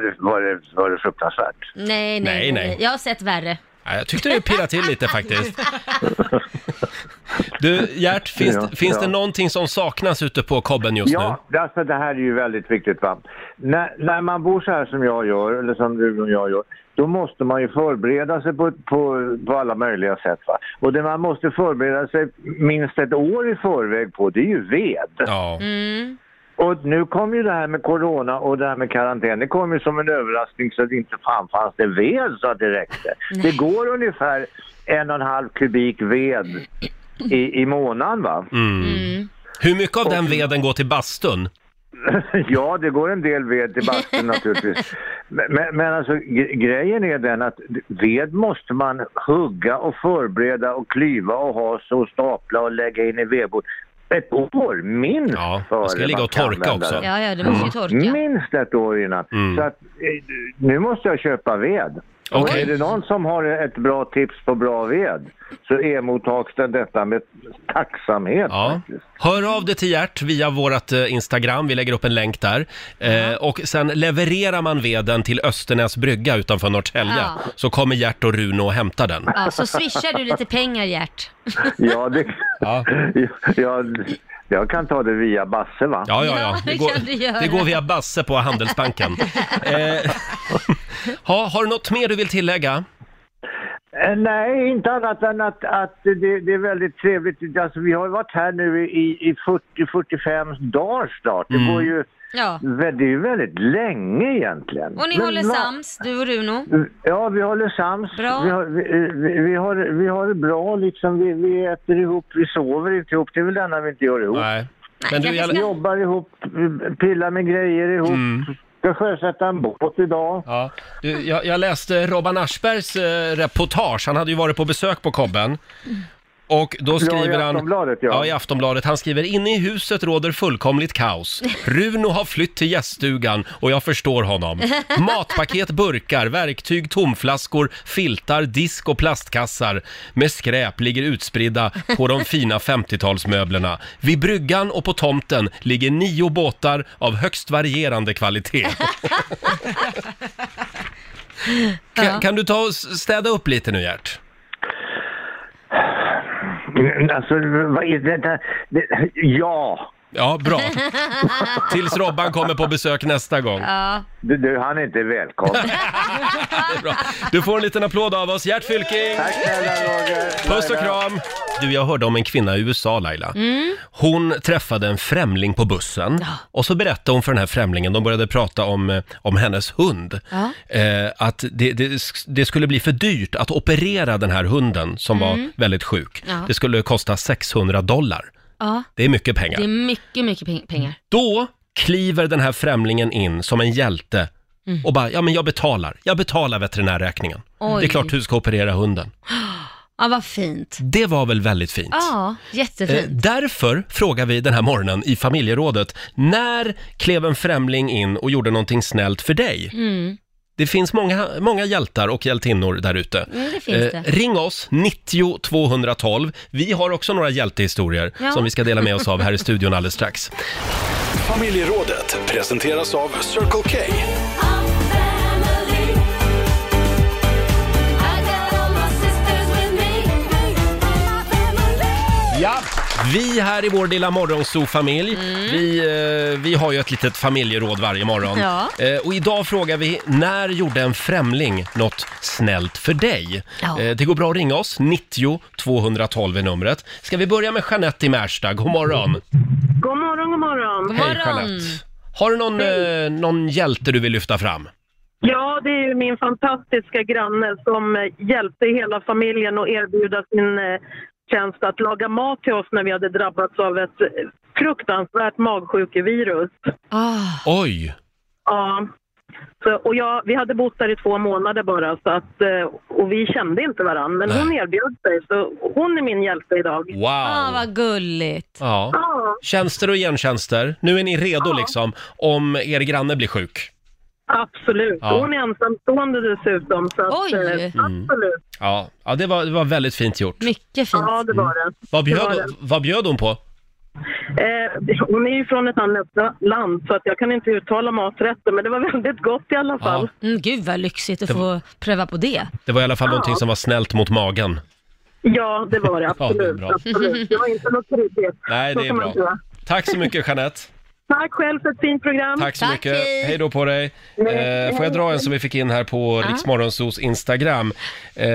det, var det, var det fruktansvärt?
Nej, nej, nej,
Nej, nej.
Jag har sett värre.
Ja, jag tyckte du pirrade till lite faktiskt. Du Gert, finns,
Ja,
finns det
ja.
någonting som saknas ute på kobben just nu?
Ja, alltså det här är ju väldigt viktigt. Va? När, när man bor så här som jag gör, eller som du och jag gör, då måste man ju förbereda sig på, på, på alla möjliga sätt. Va? Och det man måste förbereda sig minst ett år i förväg på, det är ju ved.
Ja.
Mm.
Och nu kom ju det här med corona och det här med karantän. Det kom ju som en överraskning så att det inte fan fanns det ved så att det räckte. Det går ungefär en och en halv kubik ved i, i månaden va?
Mm.
Hur mycket av den veden går till bastun?
ja, det går en del ved till bastun naturligtvis. Men, men- men alltså gre- grejen är den att ved måste man hugga och förbereda och klyva och ha så och stapla och lägga in i vedbord. Ett år minst
Ja,
före
det ska ligga
man
och
kan
torka
använda
också. Mm.
den.
Ja, ja, det måste ju torka.
Minst ett år innan. Så att, eh, nu måste jag köpa ved. Och
Okej.
är det någon som har ett bra tips på bra ved så emottas det detta med tacksamhet.
Ja.
faktiskt.
Hör av dig till Gert via vårt Instagram, vi lägger upp en länk där. Eh, och sen levererar man veden till Östernäs brygga utanför Norrtälje.
Ja.
Så kommer Gert och Runo och hämtar den.
Ja, så swishar du lite pengar, Gert.
Ja, det,
Ja.
ja, jag kan ta det via Basse va?
Ja, ja, ja.
Ja,
Det
det
går,
kan du göra.
det går via Basse på Handelsbanken. eh, ha, har du något mer du vill tillägga?
Eh, Nej, inte annat än att, att det, det är väldigt trevligt. Alltså, vi har ju varit här nu i, i 40-45 dagar snart. Det,
Mm.
går ju,
Ja.
vä- det är ju väldigt länge egentligen.
Och ni
Men
håller
va-
sams, du och Runo.
Ja, vi håller sams.
Bra.
Vi har, vi, vi, vi, har, vi har det bra liksom. Vi, vi äter ihop, vi sover inte ihop. Det är väl det enda vi inte gör ihop.
Nej. Men du,
jag
jag, Mm.
Vi jobbar ihop, vi pillar med grejer ihop. Ska sjösätta en båt idag.
ja, du, jag, jag läste Robban Aschbergs eh, reportage, han hade ju varit på besök på Kobben. Och då skriver
ja, i
han...
Aftonbladet ja.
Ja, i Aftonbladet. Han skriver inne i huset råder fullkomligt kaos. Runo har flytt till gäststugan och jag förstår honom. Matpaket, burkar, verktyg, tomflaskor, filtar, disk och plastkassar med skräp ligger utspridda på de fina 50-talsmöblerna. Vid bryggan och på tomten ligger nio båtar av högst varierande kvalitet. kan, kan du ta och städa upp lite nu, Gert?
Mm, Alltså, vad är det, där? det, Ja!
Ja, bra. Tills Robban kommer på besök nästa gång.
Ja.
Du, du, han är inte välkommen.
Bra. Du får en liten applåd av oss, Gert Fylking!
Tack snälla Roger.
Puss och kram! Du, jag hörde om en kvinna i USA, Laila. Hon träffade en främling på bussen och så berättade hon för den här främlingen, de började prata om, eh, om hennes hund,
Ja.
eh, att det, det, sk- det skulle bli för dyrt att operera den här hunden som var väldigt sjuk.
Mm. Ja.
Det skulle kosta 600 dollar.
ja,
Det är mycket pengar.
det är mycket, mycket peng- pengar.
Då kliver den här främlingen in som en hjälte
Mm.
och bara, ja men jag betalar, jag betalar veterinärräkningen.
Oj.
Det är klart du ska operera hunden.
Ja, vad fint.
Det var väl väldigt fint?
Ja,
Eh,
jättefint.
därför frågar vi den här morgonen i familjerådet, när klev en främling in och gjorde någonting snällt för dig?
Mm.
Det finns många, många hjältar och hjältinnor där ute. Eh,
Mm, det finns det.
ring oss, 90 212. Vi har också några hjältehistorier
Ja.
som vi ska dela med oss av här i studion alldeles strax.
Familjerådet presenteras av Circle K.
Ja, vi här i vår lilla morgonzoo-familj,
Mm.
vi, eh, vi har ju ett litet familjeråd varje morgon.
Ja.
Eh, och idag frågar vi, när gjorde en främling något snällt för dig?
Ja.
Eh, det går bra att ringa oss, 90 212 är numret. Ska vi börja med Jeanette i Märsta, god morgon.
God morgon, god morgon.
God
Hej
morgon.
Jeanette. Har du någon, eh, någon hjälte du vill lyfta fram?
Ja, det är ju min fantastiska granne som eh, hjälpte hela familjen att erbjuda sin eh, tjänst att laga mat till oss när vi hade drabbats av ett eh, fruktansvärt magsjukevirus.
Ah,
Oj,
Ja. Så, och jag, vi hade bott där i två månader bara, så att, eh, och vi kände inte varandra. Men hon erbjöd sig, så hon är min hjälte idag.
Ah,
Wow!
vad gulligt.
Ja.
Ja,
Tjänster och gentjänster. Nu är ni
Ah.
redo liksom, om er granne blir sjuk.
absolut.
Ja.
Hon är ensamstående dessutom. Så att,
Oj.
eh, Absolut.
Mm. Ja, ja det, var, det var väldigt fint gjort.
Mycket fint. Mm.
Ja, det var det.
Vad
det var
bjöd,
det.
vad bjöd hon på?
Eh, hon är ju från ett annat land, så att jag kan inte uttala maträtter, men det var väldigt gott i alla fall.
Mm, gud vad lyxigt att få pröva på det.
Det var i alla fall någonting som var snällt mot magen.
Ah. Ja, det var det.
Ja, det är
Absolut.
bra.
absolut. Det var inte något trygghet.
Nej,
Så
det är
kan man
bra.
säga.
Tack så mycket Jeanette.
Tack själv för ett fint program.
Tack så
Tack,
mycket.
hej.
Hej då på dig. Eh, får jag dra en som vi fick in här på Riksmorgonsos Instagram? Eh,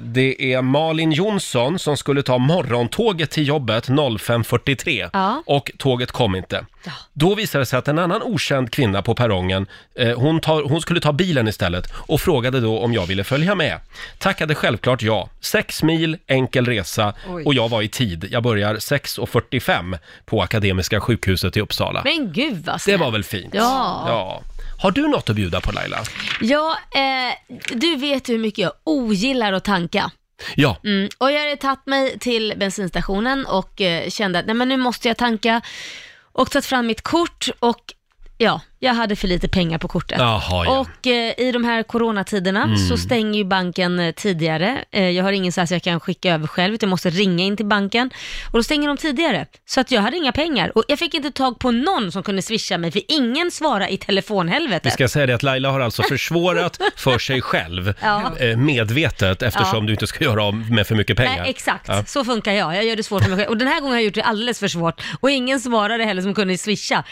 det är Malin Jonsson som skulle ta morgontåget till jobbet 05.43
Ja.
och tåget kom inte. Då visade det sig att en annan okänd kvinna på perrongen, eh, hon, tar, hon skulle ta bilen istället och frågade då om jag ville följa med. Tackade självklart ja. Sex mil, enkel resa
Oj.
och jag var i tid. Jag börjar 6.45 på Akademiska sjukhuset i Uppsala.
Men gud vad
Det
snällt.
var väl fint?
Alltså. Ja.
ja. Har du något att bjuda på Laila?
Ja, eh, du vet ju hur mycket jag ogillar att tanka.
Ja,
Mm. Och jag hade tagit mig till bensinstationen och eh, kände att nej men nu måste jag tanka och tagit fram mitt kort och ja, jag hade för lite pengar på kortet.
Jaha, ja. Mm.
Och eh, i de här coronatiderna så stänger ju banken eh, tidigare. Eh, jag har ingen så här så jag kan skicka över själv utan jag måste ringa in till banken. Och då stänger de tidigare. Så att jag hade inga pengar. Och jag fick inte tag på någon som kunde swisha mig för ingen svarade i
vi
telefonhelvetet.
ska säga det att Laila har alltså försvårat för sig själv
Ja.
eh, medvetet eftersom
Ja.
du inte ska göra av med för mycket pengar.
Nej, exakt,
Ja.
så funkar jag. Jag gör det svårt för mig själv. Och den här gången har jag gjort det alldeles för svårt. Och ingen svarade heller som kunde swisha.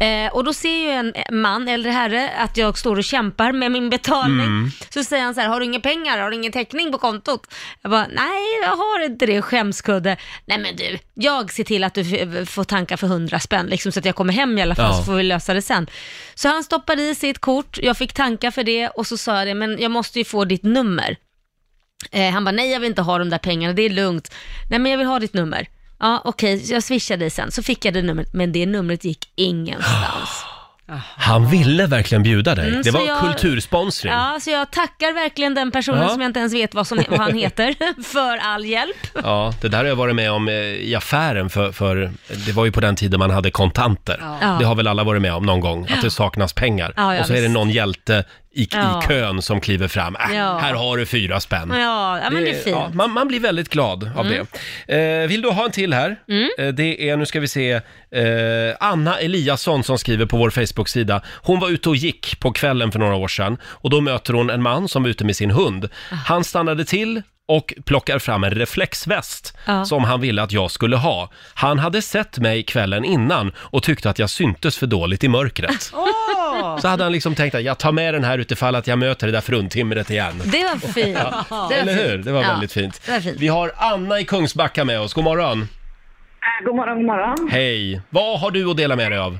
Eh, och då ser ju en man, äldre herre, att jag står och kämpar med min betalning.
Mm.
Så säger han så här, har du inga pengar? Har du ingen täckning på kontot? Jag bara, nej jag har inte det, skämskudde. Nej men du, jag ser till att du f- får tanka för 100 spänn, liksom, så att jag kommer hem i alla fall,
Ja.
så får vi lösa det sen. Så han stoppade i sitt kort, jag fick tanka för det och så sa jag det, men jag måste ju få ditt nummer. Eh, han bara, nej jag vill inte ha de där pengarna, det är lugnt. Nej men jag vill ha ditt nummer. Ja okej, så jag swishar dig sen. Så fick jag det numret, men det numret gick ingenstans.
Han ville verkligen bjuda dig.
Mm,
det
så
var
jag-
kultursponsring. Ja.
Ja, så jag tackar verkligen den personen
Ja.
som jag inte ens vet vad, som, vad han heter, för all hjälp.
det där har jag varit med om eh, i affären för, för det var ju på den tiden man hade kontanter.
Ja.
Det har väl alla varit med om någon gång, att det saknas pengar.
Ja, ja,
och så är det
visst.
någon hjälte i,
Ja.
i kön som kliver fram. Äh,
Ja.
Här har du fyra spänn.
Ja, ja men det är fint. Mm.
ja, man, man blir väldigt glad av det. Eh, vill du ha en till här? Eh, det är, nu ska vi se, eh, Anna Eliasson som skriver på vår Facebook-sida. Hon var ute och gick på kvällen för några år sedan och då möter hon en man som var ute med sin hund.
Ah.
Han stannade till och plockar fram en reflexväst
Ja.
som han ville att jag skulle ha. Han hade sett mig kvällen innan och tyckte att jag syntes för dåligt i mörkret.
Ah.
Åh!
Så hade han liksom tänkt att jag tar med den här utifall att jag möter det där fruntimret igen.
Det var fint. Det var
Eller
fint.
hur? Det var
Ja.
väldigt fint.
Det var fint.
Vi har Anna i Kungsbacka med oss. God morgon.
Eh, God morgon, god morgon.
Hej. Vad har du att dela med dig av?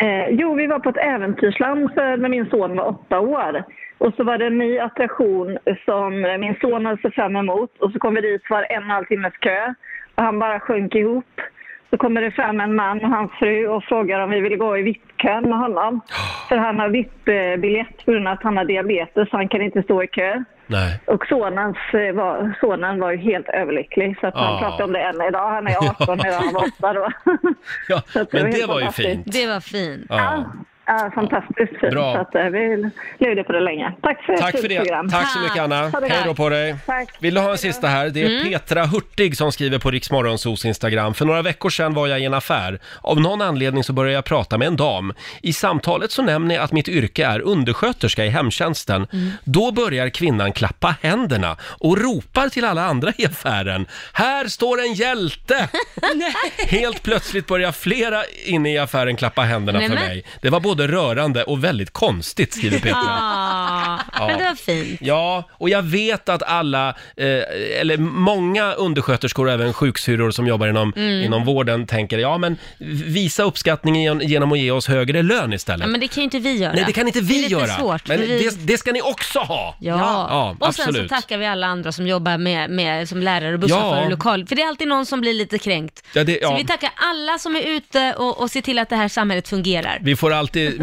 Eh, jo, vi var på ett äventyrsland för, när min son var åtta år. Och så var det en ny attraktion som eh, min son hade sett fram emot. Och så kom vi dit, var en och en halv timmes kö. Och han bara sjönk ihop. Så kommer det fram en man och hans fru och frågar om vi vill gå i VIP-kön med honom. För han har VIP-biljett på grund av att han har diabetes, så han kan inte stå i kö.
Nej.
Och sonens, eh, var, sonen var ju helt överlycklig, så att han
Ja.
pratar om det än idag. Han är 18 idag, han var 8 då.
Ja,
Så att det
men
var
det
helt
var ju
fantastiskt.
fint.
Det var fint.
Ja.
Ja, fantastiskt fint.
Bra.
Så att, eh, vi levde på det länge. Tack för ett
Tack för
fint program.
det. Tack så mycket Anna.
Ha det
Hej då
bra.
på dig.
Tack.
Vill du ha en sista här? Det är
Mm.
Petra Hurtig som skriver på Riksmorgonsos Instagram. För några veckor sedan var jag i en affär. Av någon anledning så började jag prata med en dam. I samtalet så nämner jag att mitt yrke är undersköterska i hemtjänsten.
Mm.
Då börjar kvinnan klappa händerna och ropar till alla andra i affären. Här står en hjälte! Helt plötsligt börjar flera inne i affären klappa händerna
Nej,
för
men-
mig. Det var både rörande och väldigt konstigt, skriver Petra.
Ah, Men det var fint.
Ja, och jag vet att alla, eh, eller många undersköterskor och även sjuksyrror som jobbar inom,
Mm.
inom vården tänker, ja men visa uppskattning gen- genom att ge oss högre lön istället.
Ja, men det kan ju inte vi göra.
Nej, det kan inte vi
det är lite
göra.
Svårt,
men
för vi...
det, det ska ni också ha!
Ja,
ja
och sen
absolut.
så tackar vi alla andra som jobbar med, med som lärare och busschaufförer
Ja.
och lokal. För det är alltid någon som blir lite kränkt.
Ja, det,
Så
ja.
vi tackar alla som är ute och, och ser till att det här samhället fungerar.
Vi får alltid alltid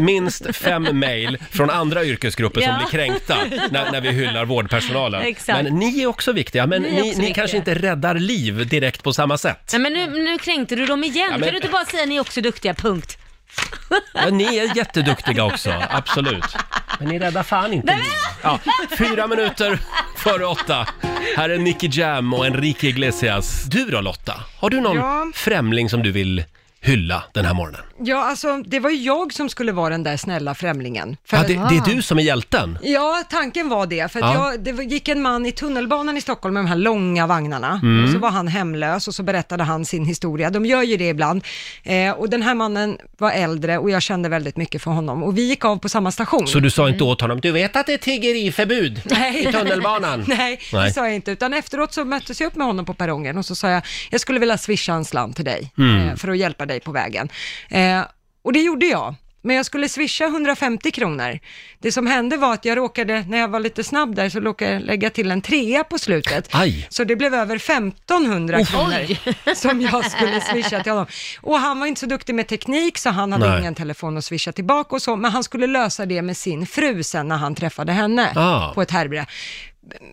minst fem mejl från andra yrkesgrupper som
Ja.
blir kränkta när, när vi hyllar vårdpersonalen.
Exakt.
Men ni är också viktiga, men
Ni
ni,
är
ni,
också viktiga.
kanske inte räddar liv direkt på samma sätt.
Nej, men nu, nu kränkte du dem igen.
Ja, men-
Kan du inte bara säga ni är också duktiga, punkt?
Ja, ni är jätteduktiga också, absolut. Men ni räddar fan inte liv. Ja, fyra minuter före åtta. Här är Nicky Jam och Enrique Iglesias. Du då Lotta, har du någon
Ja.
främling som du vill hylla den här morgonen?
Ja, alltså det var ju jag som skulle vara den där snälla främlingen. För
Ja,
att-
det, det är du som är hjälten.
Ja, tanken var det. För att
Ja.
jag, det var- gick en man i tunnelbanan i Stockholm med de här långa vagnarna.
Mm.
Och så var han hemlös och så berättade han sin historia. De gör ju det ibland. Eh, och den här mannen var äldre och jag kände väldigt mycket för honom. Och vi gick av på samma station.
Så du sa inte åt honom, du vet att det är tiggeriförbud
Mm. Nej.
i tunnelbanan?
Nej,
Nej.
det sa jag inte. Utan efteråt så möttes jag upp med honom på perrongen och så sa jag, jag skulle vilja swisha en slant till dig
Mm.
eh, för att hjälpa dig på vägen. Eh, och det gjorde jag. Men jag skulle swisha 150 kronor. Det som hände var att jag råkade, när jag var lite snabb där, så råkade jag lägga till en trea på slutet.
Aj.
Så det blev över 1500 kronor som jag skulle swisha till honom. Och han var inte så duktig med teknik, så han hade
Nej.
ingen telefon att swisha tillbaka och så, men han skulle lösa det med sin fru sen när han träffade henne
Ah.
på ett härbre.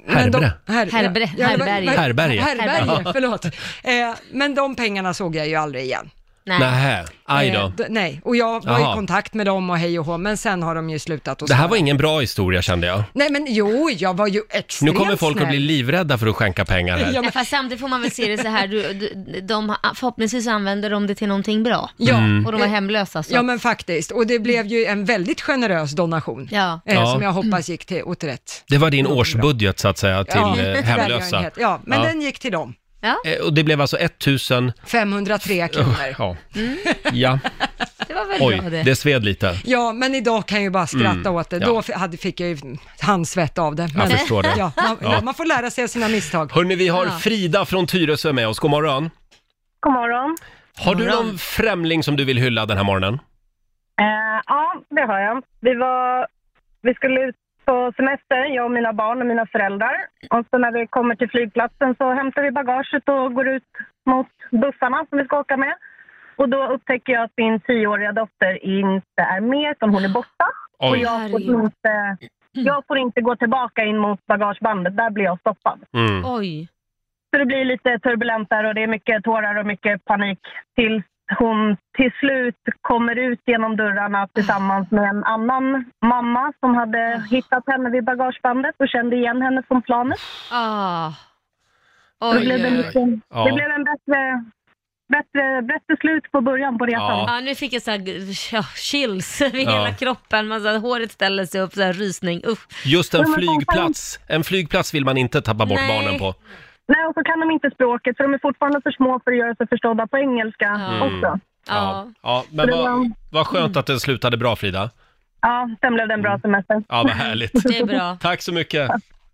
Men
Herbre?
de- Her,
Herbre-
ja, det var-
herberge.
var-
Herberge.
Herberge.
Herberge, förlåt. Eh, men de pengarna såg jag ju aldrig igen.
Nej.
Nähä, aj
Eh,
då.
d- nej, och jag var
Jaha.
i kontakt med dem och hej och hå, men sen har de ju slutat att
Det här
svara.
var ingen bra historia kände jag.
Nej men jo, jag var ju
Nu
extremt
kommer folk att bli
snäll.
livrädda för att skänka pengar här.
Ja,
Nej, fast samtidigt får man väl se det så här, du, du, de, har- förhoppningsvis använder de det till någonting bra.
Ja.
Mm.
Och de var hemlösa så.
Ja men faktiskt, och det blev ju en väldigt generös donation.
Ja.
Eh,
Ja.
Som jag hoppas gick till, åt rätt.
Det var din årsbudget så att säga till eh, hemlösa.
välgörenhet. Ja, men
Ja.
den gick till dem.
ja,
Eh, Och det blev alltså 1000...
503 kronor.
Ja.
Mm.
ja,
det var väl
oj,
bra det.
det sved lite.
Ja, men idag kan jag ju bara skratta åt det.
ja.
Då f- hade, fick jag ju handsvett av det.
Jag
Men,
förstår det.
Ja, man, man får lära sig av sina misstag.
Hörni, vi har
Ja.
Frida från Tyresö med oss. God morgon.
God morgon.
Har du
morgon.
någon främling som du vill hylla den här morgonen?
Eh, ja, det har jag. Vi, var, vi skulle ut på semester, jag och mina barn och mina föräldrar. Och så när vi kommer till flygplatsen så hämtar vi bagaget och går ut mot bussarna som vi ska åka med. Och då upptäcker jag att min tioåriga dotter inte är med, utan hon är borta. Och
Oj.
jag får, inte, jag får inte gå tillbaka in mot bagagebandet, där blir jag stoppad.
Mm.
Oj.
Så det blir lite turbulent där och det är mycket tårar och mycket panik tills hon till slut kommer ut genom dörrarna tillsammans med en annan mamma som hade hittat henne vid bagagebandet och kände igen henne från planet.
Ah.
Så
Oj,
det blev en,
oj, oj.
liten,
Ja.
det blev en bättre, bättre, bättre slut på början på resan.
Ja.
Ja, nu fick jag så här, ja, chills vid
Ja.
hela kroppen, massa, håret ställer sig upp, så här, rysning. Usch.
Just en
Ja, men vad fan.
flygplats. En flygplats vill man inte tappa bort
Nej.
barnen på.
Nej, och så kan de inte språket för de är fortfarande för små för att göra sig förstådda på engelska
Ja. Mm.
också.
Mm.
Ja.
Ja. ja men
Det var-
vad, vad skönt att det slutade bra Frida.
Ja, sen blev det en bra semester.
Mm. Ja, vad härligt.
det är bra.
Tack så mycket.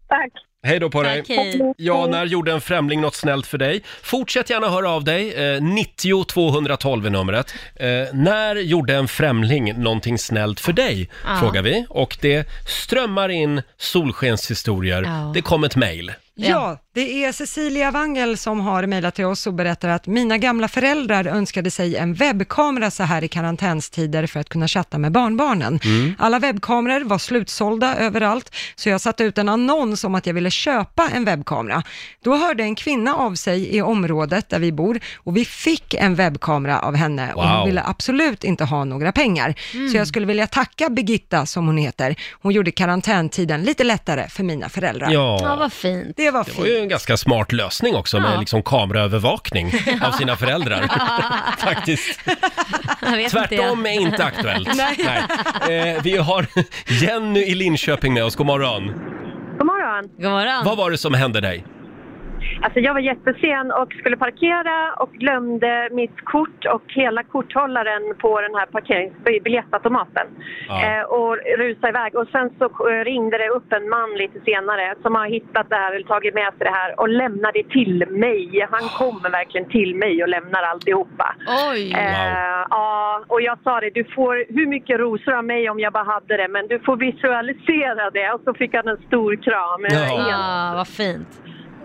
Tack!
Hej då på dig.
Tack, hej.
Ja, när gjorde en främling något snällt för dig? Fortsätt gärna höra av dig. Eh, 90 212 är numret. Eh, när gjorde en främling någonting snällt för dig?
Ja.
Frågar vi. Och det strömmar in solskenshistorier.
Ja.
Det kom ett mejl.
Ja.
Ja, det är Cecilia Wangel som har mejlat till oss och berättar att mina gamla föräldrar önskade sig en webbkamera så här i karantänstider för att kunna chatta med barnbarnen.
Mm.
Alla webbkameror var slutsålda överallt, så jag satte ut en annons om att jag ville köpa en webbkamera. Då hörde en kvinna av sig i området där vi bor och vi fick en webbkamera av henne och
Wow. Mm.
hon ville absolut inte ha några pengar. Så jag skulle vilja tacka Birgitta, som hon heter. Hon gjorde karantäntiden lite lättare för mina föräldrar.
Ja, vad fint.
Det var
Det
fint.
var ju en ganska smart lösning också med
Ja.
liksom kameraövervakning av sina föräldrar. Faktiskt.
Jag vet
Tvärtom
Inte,
är inte aktuellt. Nej. Eh, vi har Jenny i Linköping med oss. God morgon.
God morgon!
jag. God morgon.
Vad var det som hände dig?
Alltså jag var jättesen och skulle parkera och glömde mitt kort och hela korthållaren på den här parkeringsbiljettautomaten.
Ja.
Eh, och rusade iväg och sen så eh, ringde det upp en man lite senare som har hittat det här eller tagit med sig det här och lämnar det till mig. Han kommer verkligen till mig och lämnar alltihopa.
Oj.
Eh, ja, och jag sa det, du får hur mycket rosor av mig om jag bara hade det, men du får visualisera det. Och så fick han en stor kram.
Ja.
Ja,
Ah, vad fint.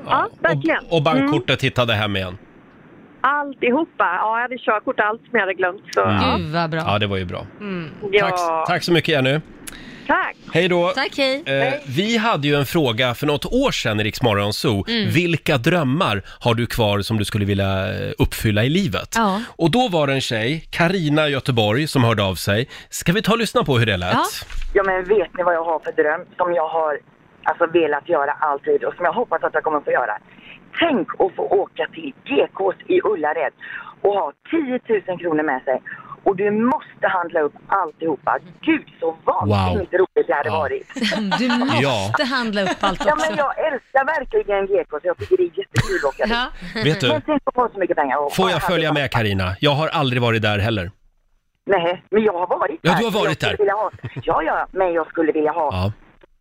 ja verkligen. Mm.
Mm.
Och, och bankkortet hittade hem igen.
Alltihopa. Ja, jag hade körkort, allt som jag hade glömt. Så, ja.
Gud vad bra.
Mm.
Mm.
Ja, det var ju bra. Tack,
Ja,
tack så mycket Jenny.
tack.
Hej då.
Tack, hej.
Eh, vi hade ju en fråga för något år sedan i Rix Morgon Zoo.
Mm.
Vilka drömmar har du kvar som du skulle vilja eh, uppfylla i livet?
Ja.
Och då var det en tjej, Karina i Göteborg, som hörde av sig. Ska vi ta och lyssna på hur det lät?
Ja.
Ja, men vet ni vad jag har för dröm som jag har alltså, velat göra alltid och som jag hoppas att jag kommer få göra? Tänk att få åka till GKs i Ullared och ha 10 000 kronor med sig och du måste handla upp alltihopa. Gud så vansinnigt roligt det hade
Ja.
varit.
Du måste
Ja.
handla upp allt
Ja,
också.
men jag älskar verkligen GKs. Jag tycker det är jättekul att åka dit.
Ja.
Vet du,
Men tänk att få så mycket pengar. och
får
bara
jag
handla
följa
upp.
med Karina? Jag har aldrig varit där heller.
Nej, men jag har varit
Ja,
där.
du har varit
jag skulle
där.
Vilja ha, ja, ja, men jag skulle vilja ha
Ja.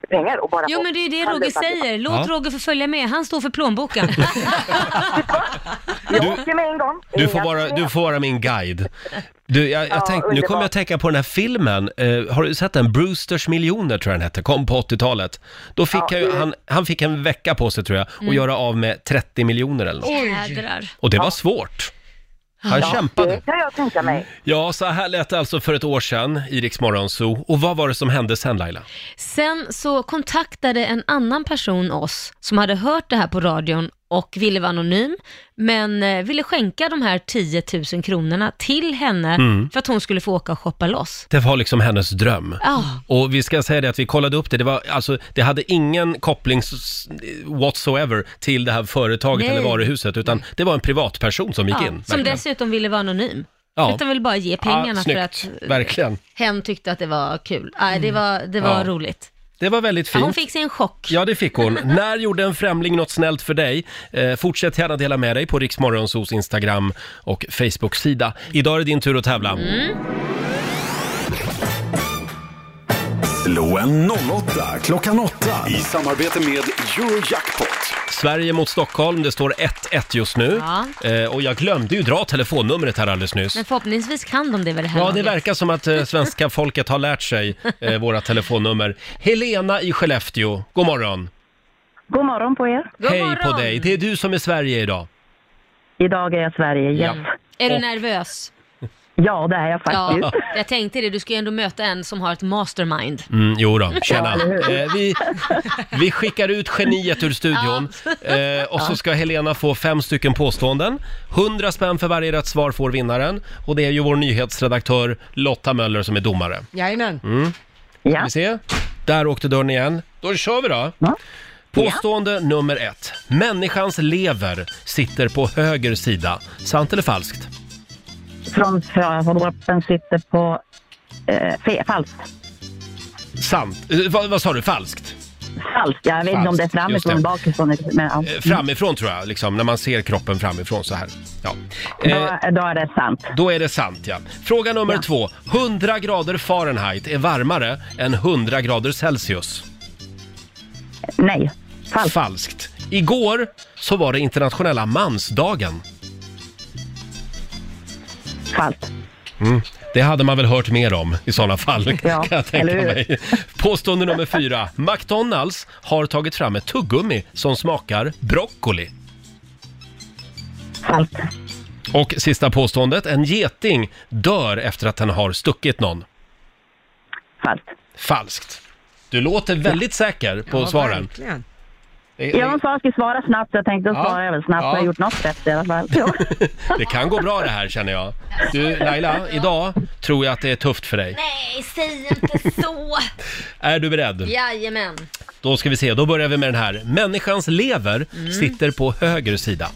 pengar och bara
Jo
få
men det är ju det
handla
Roger
upp alltihopa.
säger. Låt
Ja.
Roger få följa med, han står för plånboken.
Jag
Du-
åker med en gång.
Du får
Inga
vara,
problem.
du får vara min guide. Du, jag, jag
Ja,
tänk, nu kommer
underbart.
jag att tänka på den här filmen. Eh, har du sett den? Brewsters miljoner tror jag den hette. Kom på 80-talet. Då fick
Ja, Mm.
jag, ju-
det-
han, han fick en vecka på sig tror jag och göra av med 30 miljoner eller något.
Jädrar.
Och det var svårt. Han
Det
kämpade.
kan jag tänka mig.
Ja, så här lät det alltså för ett år sedan i Rix Morgon Zoo. Och vad var det som hände sen Laila?
Sen så kontaktade en annan person oss som hade hört det här på radion och ville vara anonym, men eh, ville skänka de här 10 000 kronorna till henne
Mm.
för att hon skulle få åka och shoppa loss.
Det var liksom hennes dröm.
Ja,
Och vi ska säga det att vi kollade upp det, det, var, alltså, det hade ingen koppling s- s- whatsoever till det här företaget
Nej. Mm.
eller varuhuset, utan det var en privatperson som gick
ja,
in.
som
verkligen.
dessutom ville vara anonym.
Ja.
Utan ville bara ge pengarna
ja,
för
snyggt.
att eh,
Verkligen.
hen tyckte att det var kul. Nej, det var, det var
Ja.
roligt.
Det var väldigt
Ja, hon
fint.
fick sig en chock.
Ja, det fick hon. När gjorde en främling något snällt för dig? Eh, fortsätt gärna dela med dig på Riksmorgonsos Instagram och Facebook-sida. Idag är det din tur att tävla.
Mm.
Slå en 08 klockan 8 i samarbete med Eurojackpot.
Sverige mot Stockholm, det står 1-1 just nu.
Ja.
Eh, och jag glömde ju dra telefonnumret här alldeles nyss.
Men förhoppningsvis kan de det väl det här
Ja, det
laget?
verkar som att eh, svenska folket har lärt sig eh, våra telefonnummer. Helena i Skellefteå, god morgon.
God morgon på er.
God
Hej
morgon.
på dig, det är du som är Sverige idag.
Idag är jag Sverige. Yes.
Ja.
Är du nervös?
Ja, det är jag faktiskt.
Ja, jag tänkte det. Du ska ju ändå möta en som har ett mastermind.
Mm, jo då, tjena. Eh, vi, vi skickar ut geniet ur studion eh, och så ska Helena få fem stycken påståenden. 100 spänn för varje rätt svar får vinnaren och det är ju vår nyhetsredaktör Lotta Möller som är domare.
Jajamän.
Ja.
Mm. Vi ser. Där åkte dörren igen. Då kör vi då. Påstående nummer ett. Människans lever sitter på höger sida. Sant eller falskt?
Från förargruppen sitter på... Eh, fe, falskt.
Sant. Eh, vad, vad sa du? Falskt?
Falskt. Jag vet
Falskt,
inte om det är framifrån,
just det.
bakifrån. Men, ja.
Eh, framifrån tror jag, liksom, när man ser kroppen framifrån så här. Ja. Eh,
då, då är det sant.
då är det sant ja. Fråga nummer två. 100 grader Fahrenheit är varmare än 100 grader Celsius.
Nej. Falskt.
Falskt. Igår så var det internationella mansdagen.
Falskt.
Mm. Det hade man väl hört mer om i sådana fall,
Ja,
kan jag tänka
eller hur?
mig. Påstående nummer fyra. McDonalds har tagit fram ett tuggummi som smakar broccoli.
Falskt.
Och sista påståendet. En geting dör efter att den har stuckit någon.
Falskt.
Falskt. Du låter väldigt säker på svaren.
Verkligen.
Det,
Ja,
det,
de sa att jag skulle svara snabbt, så jag tänkte då
Ja.
svarar jag väl snabbt.
Ja.
Jag har gjort något rätt i alla fall. Ja.
det kan gå bra det här känner jag. Du Laila, idag tror jag att det är tufft för dig.
Nej, säg inte så!
Är du beredd?
Jajamän.
Då ska vi se, då börjar vi med den här. Människans lever
Mm.
sitter på höger sida.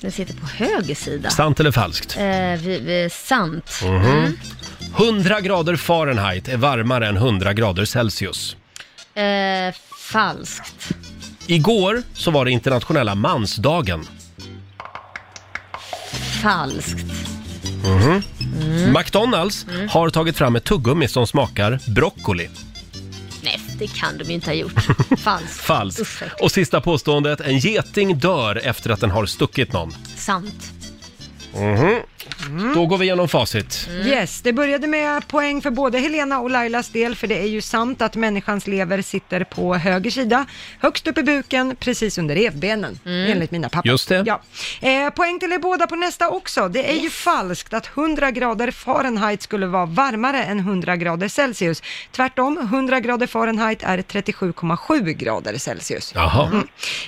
Den sitter på höger sida.
Sant Mhm. eller falskt?
Eh, vi, vi, sant.
Mm.
Mm.
100 grader Fahrenheit är varmare än 100 grader Celsius.
Eh, falskt.
Igår så var det internationella mansdagen.
Falskt.
Mhm.
Mm.
McDonalds har tagit fram ett tuggummi som smakar broccoli.
Nej, det kan de ju inte ha gjort. Falskt. Usch,
Falskt.
vad äckligt.
Och sista påståendet, en geting dör efter att den har stuckit någon.
Sant.
Mhm.
Mm.
Då går vi igenom facit.
Yes, det började med poäng för både Helena och Lailas del, för det är ju sant att människans lever sitter på höger sida, högst upp i buken, precis under revbenen, enligt mina papper.
Just det.
Ja. Eh, poäng till er båda på nästa också. Det är ju falskt att 100 grader Fahrenheit skulle vara varmare än 100 grader Celsius. Tvärtom, 100 grader Fahrenheit är 37,7 grader Celsius.
Jaha.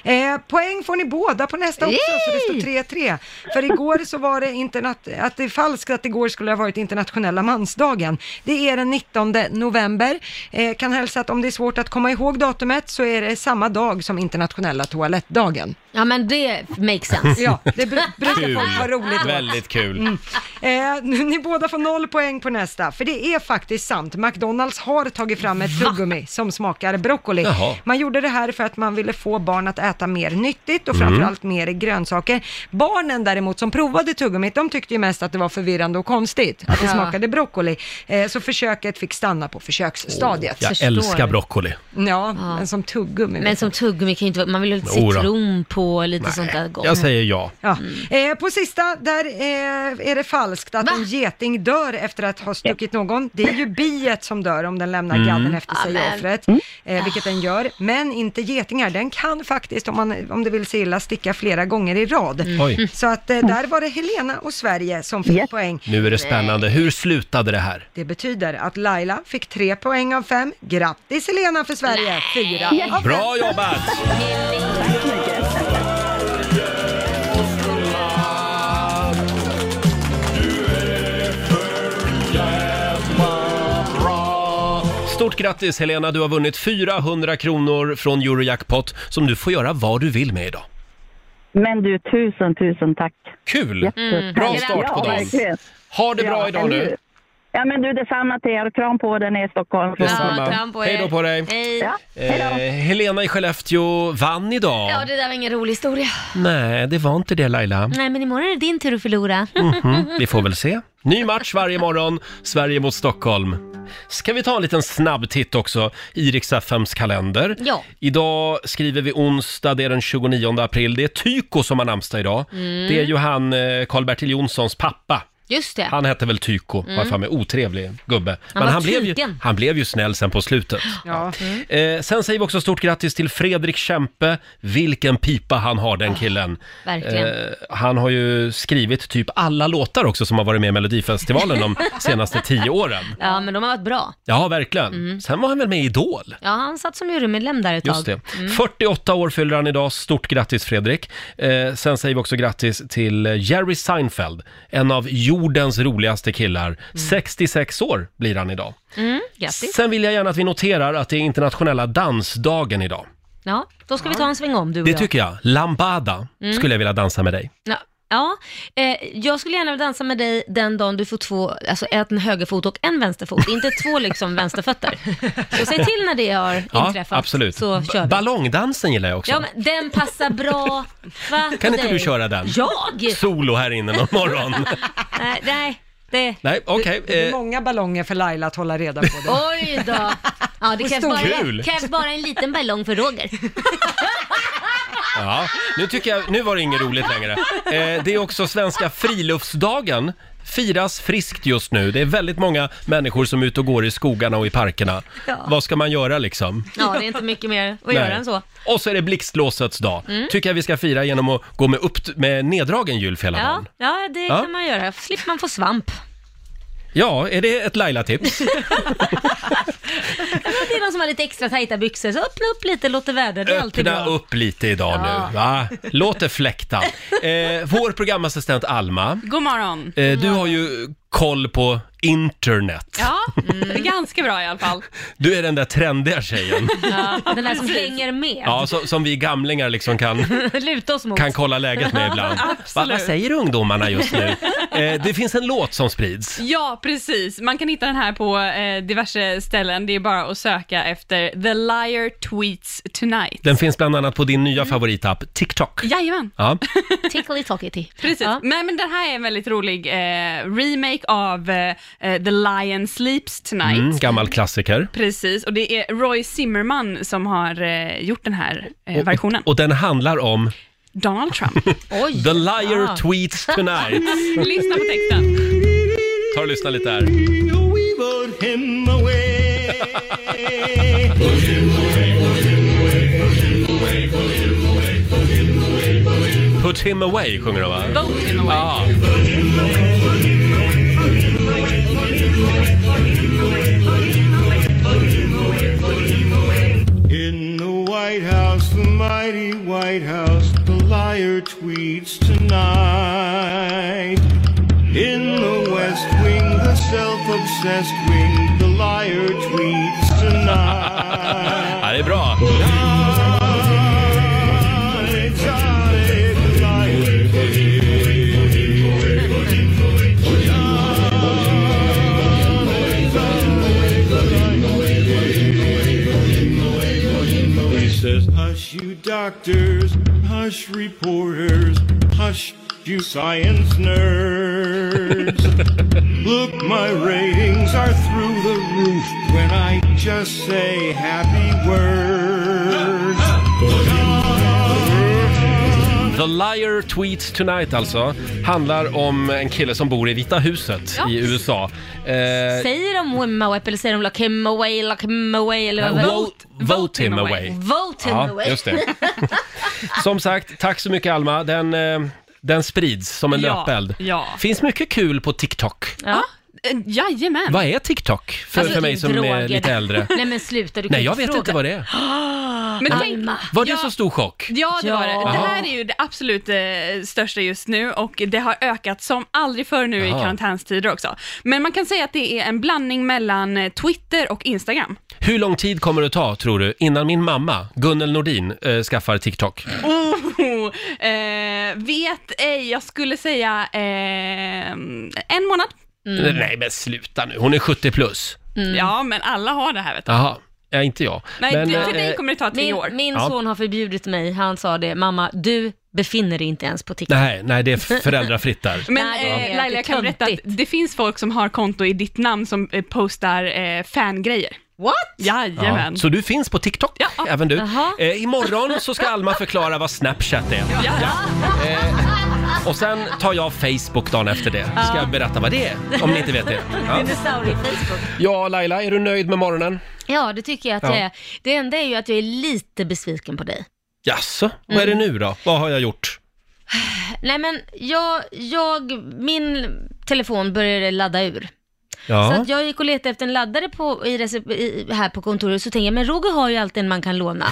Eh, poäng får ni båda på nästa också, så det står 3-3. För igår så var det internat- att det är falskt att igår skulle ha varit internationella mansdagen. Det är den 19 november. Eh, kan hälsa att om det är svårt att komma ihåg datumet så är det samma dag som internationella toalettdagen.
Ja men det makes sense.
Ja, det bru- brukar
Kul.
folk ha roligt åt.
Väldigt kul.
Eh, ni båda får noll poäng på nästa, för det är faktiskt sant. McDonalds har tagit fram ett tuggummi som smakar broccoli.
Jaha.
Man gjorde det här för att man ville få barn att äta mer nyttigt och framförallt
Mm.
mer grönsaker. Barnen däremot som provade tuggummit, de tyckte ju mest att det var förvirrande och konstigt, att det
Ja.
smakade broccoli. Eh, så försöket fick stanna på försöksstadiet.
Jag
Förstår.
älskar broccoli.
Ja, men som tuggummi.
Men som tuggummi kan ju inte vara, man vill ha lite
Jo då.
citron på och lite sånt där gott.
Jag säger ja.
Ja. Eh, på sista, där eh, är det falskt att
Va?
en geting dör efter att ha stuckit någon. Det är ju biet som dör om den lämnar
Mm.
gadden efter sig i
Amen.
offret, eh, vilket den gör. Men inte getingar, den kan faktiskt, om, man, om det vill sig illa, sticka flera gånger i rad.
Mm.
Oj, Mm.
Så att eh, där var det Helena och Sverige som fick poäng.
nu är det spännande. Hur slutade det här?
Det betyder att Laila fick tre poäng av fem. Grattis Helena för Sverige, fyra av fem.
Bra jobbat! Stort grattis Helena, du har vunnit 400 kronor från Eurojackpot som du får göra vad du vill med idag.
Men du, tusen, tusen tack.
Kul!
Mm.
Bra start på dagen. Ha det bra idag nu.
Ja, men du, detsamma till er. Kram på den i Stockholm.
Detsamma.
kram på er.
Hej då på dig.
Hej. Ja.
Eh, Helena i Skellefteå vann idag.
det där var ingen rolig historia.
Nej, det var inte det Laila.
Nej, men imorgon är det din tur att förlora.
Mhm, vi får väl se. Ny match varje morgon, Sverige mot Stockholm. Ska vi ta en liten snabb titt också i Rix FMs kalender?
Ja.
Idag skriver vi onsdag, det är den 29 april. Det är Tyko som har namnsdag idag.
Mm.
Det är ju han, eh, Karl-Bertil Jonssons pappa.
Just det.
Han hette väl Tyko, mm. varför han är otrevlig gubbe.
Han var
han blev, ju,
tyken.
han blev ju snäll sen på slutet.
Ja.
Mm.
Eh, sen säger vi också stort grattis till Fredrik Kempe. Vilken pipa han har den killen.
Ah,
Eh,
verkligen.
han har ju skrivit typ alla låtar också som har varit med i Melodifestivalen de senaste tio åren.
Ja, men de har varit bra.
Ja, verkligen. Sen var han väl med i Idol?
Ja, han satt som jurymedlem där Mm. ett
Just
tag. Mm.
det. 48 år fyller han idag. Stort grattis Fredrik. Eh, sen säger vi också grattis till Jerry Seinfeld, en av jordens roligaste killar. 66 år blir han idag.
Mm, grattis.
Sen vill jag gärna att vi noterar att det är internationella dansdagen idag.
Ja, då ska vi ta en sväng om du och
Det
jag. Mm.
tycker jag. Lambada skulle jag vilja dansa med dig.
Ja, ja eh, jag skulle gärna dansa med dig den dagen du får två, alltså en högerfot och en vänsterfot, inte två liksom vänsterfötter. Så säg till när det har
Ja,
inträffat,
absolut.
så
Ba-
kör vi.
Ballongdansen gillar jag också.
Ja, men den passar bra. Va,
Kan inte
dig?
du köra den?
Jag?
Solo här inne någon morgon.
Nej, nej, det...
Nej, okej.
Det blir
eh,
många ballonger för Laila att hålla reda på. Det.
Oj då! Ja, det krävs bara,
Kul.
krävs bara en liten ballong för Roger.
Ja, nu tycker jag, nu var det inget roligt längre. Eh, det är också svenska friluftsdagen. Firas friskt just nu. Det är väldigt många människor som är ute och går i skogarna och i parkerna.
Ja.
Vad ska man göra liksom?
Ja, det är inte mycket mer att göra
Nej.
än så. Mm.
Och så är det blixtlåsets dag. Tycker jag vi ska fira genom att gå med, upp, med neddragen gylf hela
Ja,
dagen.
ja det
Ja.
kan man göra. Slipper man få svamp.
Ja, är det ett Laila-tips?
Det är de som har lite extra tajta byxor, så öppna upp lite, låt det vädra. Det är alltid
Öppna
bra.
upp lite idag nu, va? Låt det fläkta. Eh, vår programassistent Alma,
God morgon.
eh, du har ju koll på internet.
Ja, Mm. ganska bra i alla fall.
Du är den där trendiga tjejen.
Den där som hänger med.
Ja, så, som vi gamlingar liksom kan,
Luta oss mot.
kan kolla läget med ibland. Va, vad säger ungdomarna just nu? Eh, det finns en låt som sprids.
Ja, precis. Man kan hitta den här på eh, diverse ställen. Det är bara att söka efter The Liar Tweets Tonight.
Den finns bland annat på din nya
Mm.
favoritapp, TikTok.
Jajamän,
Ja,
Tickly tockety.
precis.
Ja.
Nej, men den här är en väldigt rolig eh, remake av eh, eh, The Lion Sleeps Tonight.
mm, gammal klassiker.
Precis, och det är Roy Zimmerman som har eh, gjort den här eh,
Och,
versionen.
och den handlar om
Donald Trump.
Oj!
The liar tweets tonight.
Lyssna på texten.
Ta och lyssna lite här. Put him away sjunger de va?
Vote him away.
Ja.
In the White House, the mighty White House, the liar tweets tonight. In the West Wing, the self-obsessed wing, the liar tweets tonight.
Ja, det är bra.
He says, Hush, you doctors, hush, reporters, hush, you science nerds. Look, my ratings are through the roof when I just say happy words.
The Liar Tweets Tonight alltså handlar om en kille som bor i Vita huset
Ja.
i USA. Eh,
Säger de him away eller säger de lock him away, lock him away eller vad?
Vote, vote him away.
Vote him
ja,
away.
Just det. Som sagt, tack så mycket Alma. Den, eh, den sprids som en
Ja,
löpeld.
ja.
Finns mycket kul på TikTok.
Ja. Eh, Jajamän.
Vad är TikTok? För,
Alltså,
för mig som
droger.
är lite äldre.
Nej men sluta, du kan
Nej, jag
inte
vet
fråga.
inte vad det är.
Men
Alma.
tänk-
Var det
Ja.
så stor chock?
Ja, det var det.
Ja.
Det här är ju det absolut eh, största just nu och det har ökat som aldrig förr nu i
Jaha.
karantänstider också. Men man kan säga att det är en blandning mellan eh, Twitter och Instagram.
Hur lång tid kommer det ta, tror du, innan min mamma, Gunnel Nordin, eh, skaffar TikTok?
Oh, eh, vet ej, jag skulle säga eh, en månad.
Nej, men sluta nu. Hon är 70 plus.
Ja, men alla har det här vet du.
Mm. Jaha, ja, inte jag.
Nej,
men,
du, för
eh,
dig kommer det ta tre
min,
år.
Min
Ja.
son har förbjudit mig, han sa det, mamma du befinner dig inte ens på TikTok.
nej, nej, det är föräldrafritt där.
Men
Nej, det är
eh, Laila, jag kan
töntigt.
berätta att det finns folk som har konto i ditt namn som eh, postar eh, fangrejer.
What?
Jajamän.
Så du finns på TikTok, även du.
Jaha.
Eh, imorgon så ska Alma förklara vad Snapchat är.
Ja.
哎
Eh, och sen tar jag Facebook dagen efter det. Ska jag berätta vad det är, om ni inte vet det. Ja,
Dinosaurie Facebook.
ja Laila, är du nöjd med morgonen?
Ja, det tycker jag att
Ja.
jag är. Det enda är ju att jag är lite besviken på dig.
Jaså, vad
Mm.
är det nu då? Vad har jag gjort?
Nej men, jag, jag, min telefon började ladda ur. Så
Ja.
att jag gick och letade efter en laddare på, i, recep- i, här på kontoret, så tänkte jag, men Roger har ju alltid en man kan låna.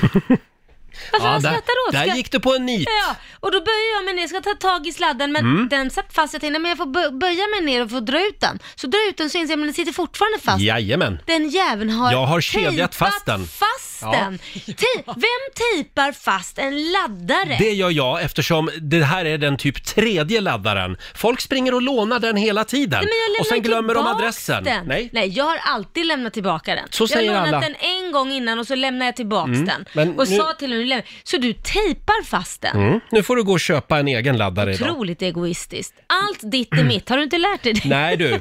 Varför
ja,
han
där,
skrattar åt? Ska-
där gick du på en nit.
Ja, och då böjer jag mig ner, jag ska ta tag i sladden, men
Mm.
den satt fast. Jag tänkte, nej, men jag får bö- böja mig ner och få dra ut den. Så drar jag ut den så inser jag, men den sitter fortfarande fast.
Jajamän.
Den jäveln har
Jag har kedjat fast den.
fast
Ja.
den. Te- Vem tejpar fast en laddare?
Det gör jag eftersom det här är den typ tredje laddaren. Folk springer och lånar den hela
Nej,
tiden.
men jag lämnar
och sen glömmer de
tillbaks
adressen.
Den.
Nej.
Nej. jag har alltid lämnat tillbaka den.
Så säger
jag har
alla.
lånat den en gång innan och så lämnar jag tillbaka
Mm,
den.
men
och
nu-
sa till honom, så du tejpar fast den.
Mm. Nu får du gå och köpa en egen laddare idag.
Otroligt egoistiskt. Allt ditt är mitt, har du inte lärt dig det?
Nej du.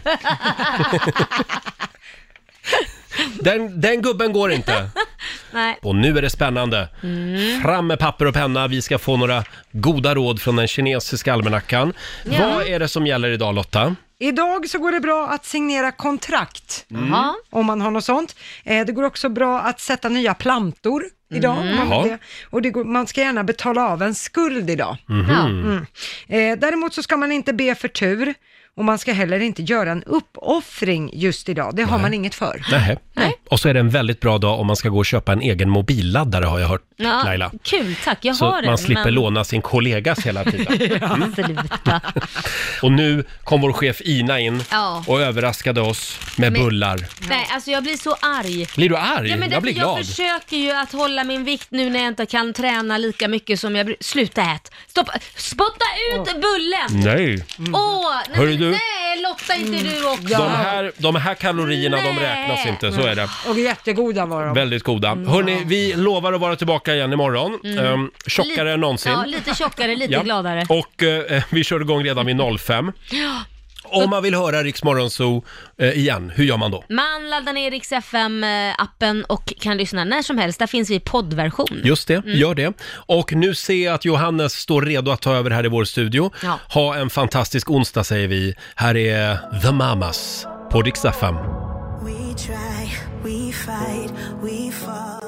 Den, den gubben går inte.
Nej.
Och nu är det spännande.
Mm.
Fram med papper och penna, vi ska få några goda råd från den kinesiska almanackan.
Ja.
Vad är det som gäller idag Lotta?
Idag så går det bra att signera kontrakt,
Jaha.
om man har något sånt. Eh, det går också bra att sätta nya plantor idag.
Mm.
om man vill
Jaha.
det. Och det går, man ska gärna betala av en skuld idag.
Mhm. Ja.
Mm. Eh, däremot så ska man inte be för tur och man ska heller inte göra en uppoffring just idag. Det har man inget för.
Nähä. Och så är det en väldigt bra dag om man ska gå och köpa en egen mobilladdare har jag hört Laila.
Kul, tack. Jag
Så
har
man
den.
slipper låna sin kollegas hela tiden.
Mm. Sluta.
Och nu kom vår chef Ina in
Ja.
och överraskade oss med
Men-
bullar.
Nej, alltså jag blir så arg.
Blir du arg?
Ja, men
jag
därför
blir glad.
jag försöker ju att hålla min vikt nu när jag inte kan träna lika mycket som jag bru- Sluta ät! Stopp. Spotta ut bullen!
Nej.
Åh!
Mm. Hörru
nej,
du.
men nej, Lotta inte du också!
De, här, de här kalorierna, de
Nej.
räknas inte. Så är det.
Och jättegoda var de.
Väldigt goda. Hörni, vi lovar att vara tillbaka igen imorgon.
Mm.
Ehm, tjockare
Lite-
än någonsin.
Ja, lite tjockare, lite
Ja.
gladare.
Och eh, vi kör igång redan vid 05.
Ja.
Om man vill höra Rix Morgonzoo eh, igen, hur gör man då?
Man laddar ner Rix FM-appen och kan lyssna när som helst. Där finns vi i poddversion.
Just det,
Mm.
gör det. Och nu ser jag att Johannes står redo att ta över här i vår studio.
Ja.
Ha en fantastisk onsdag säger vi. Här är The Mamas på Rix FM.
We try, we fight, we fall.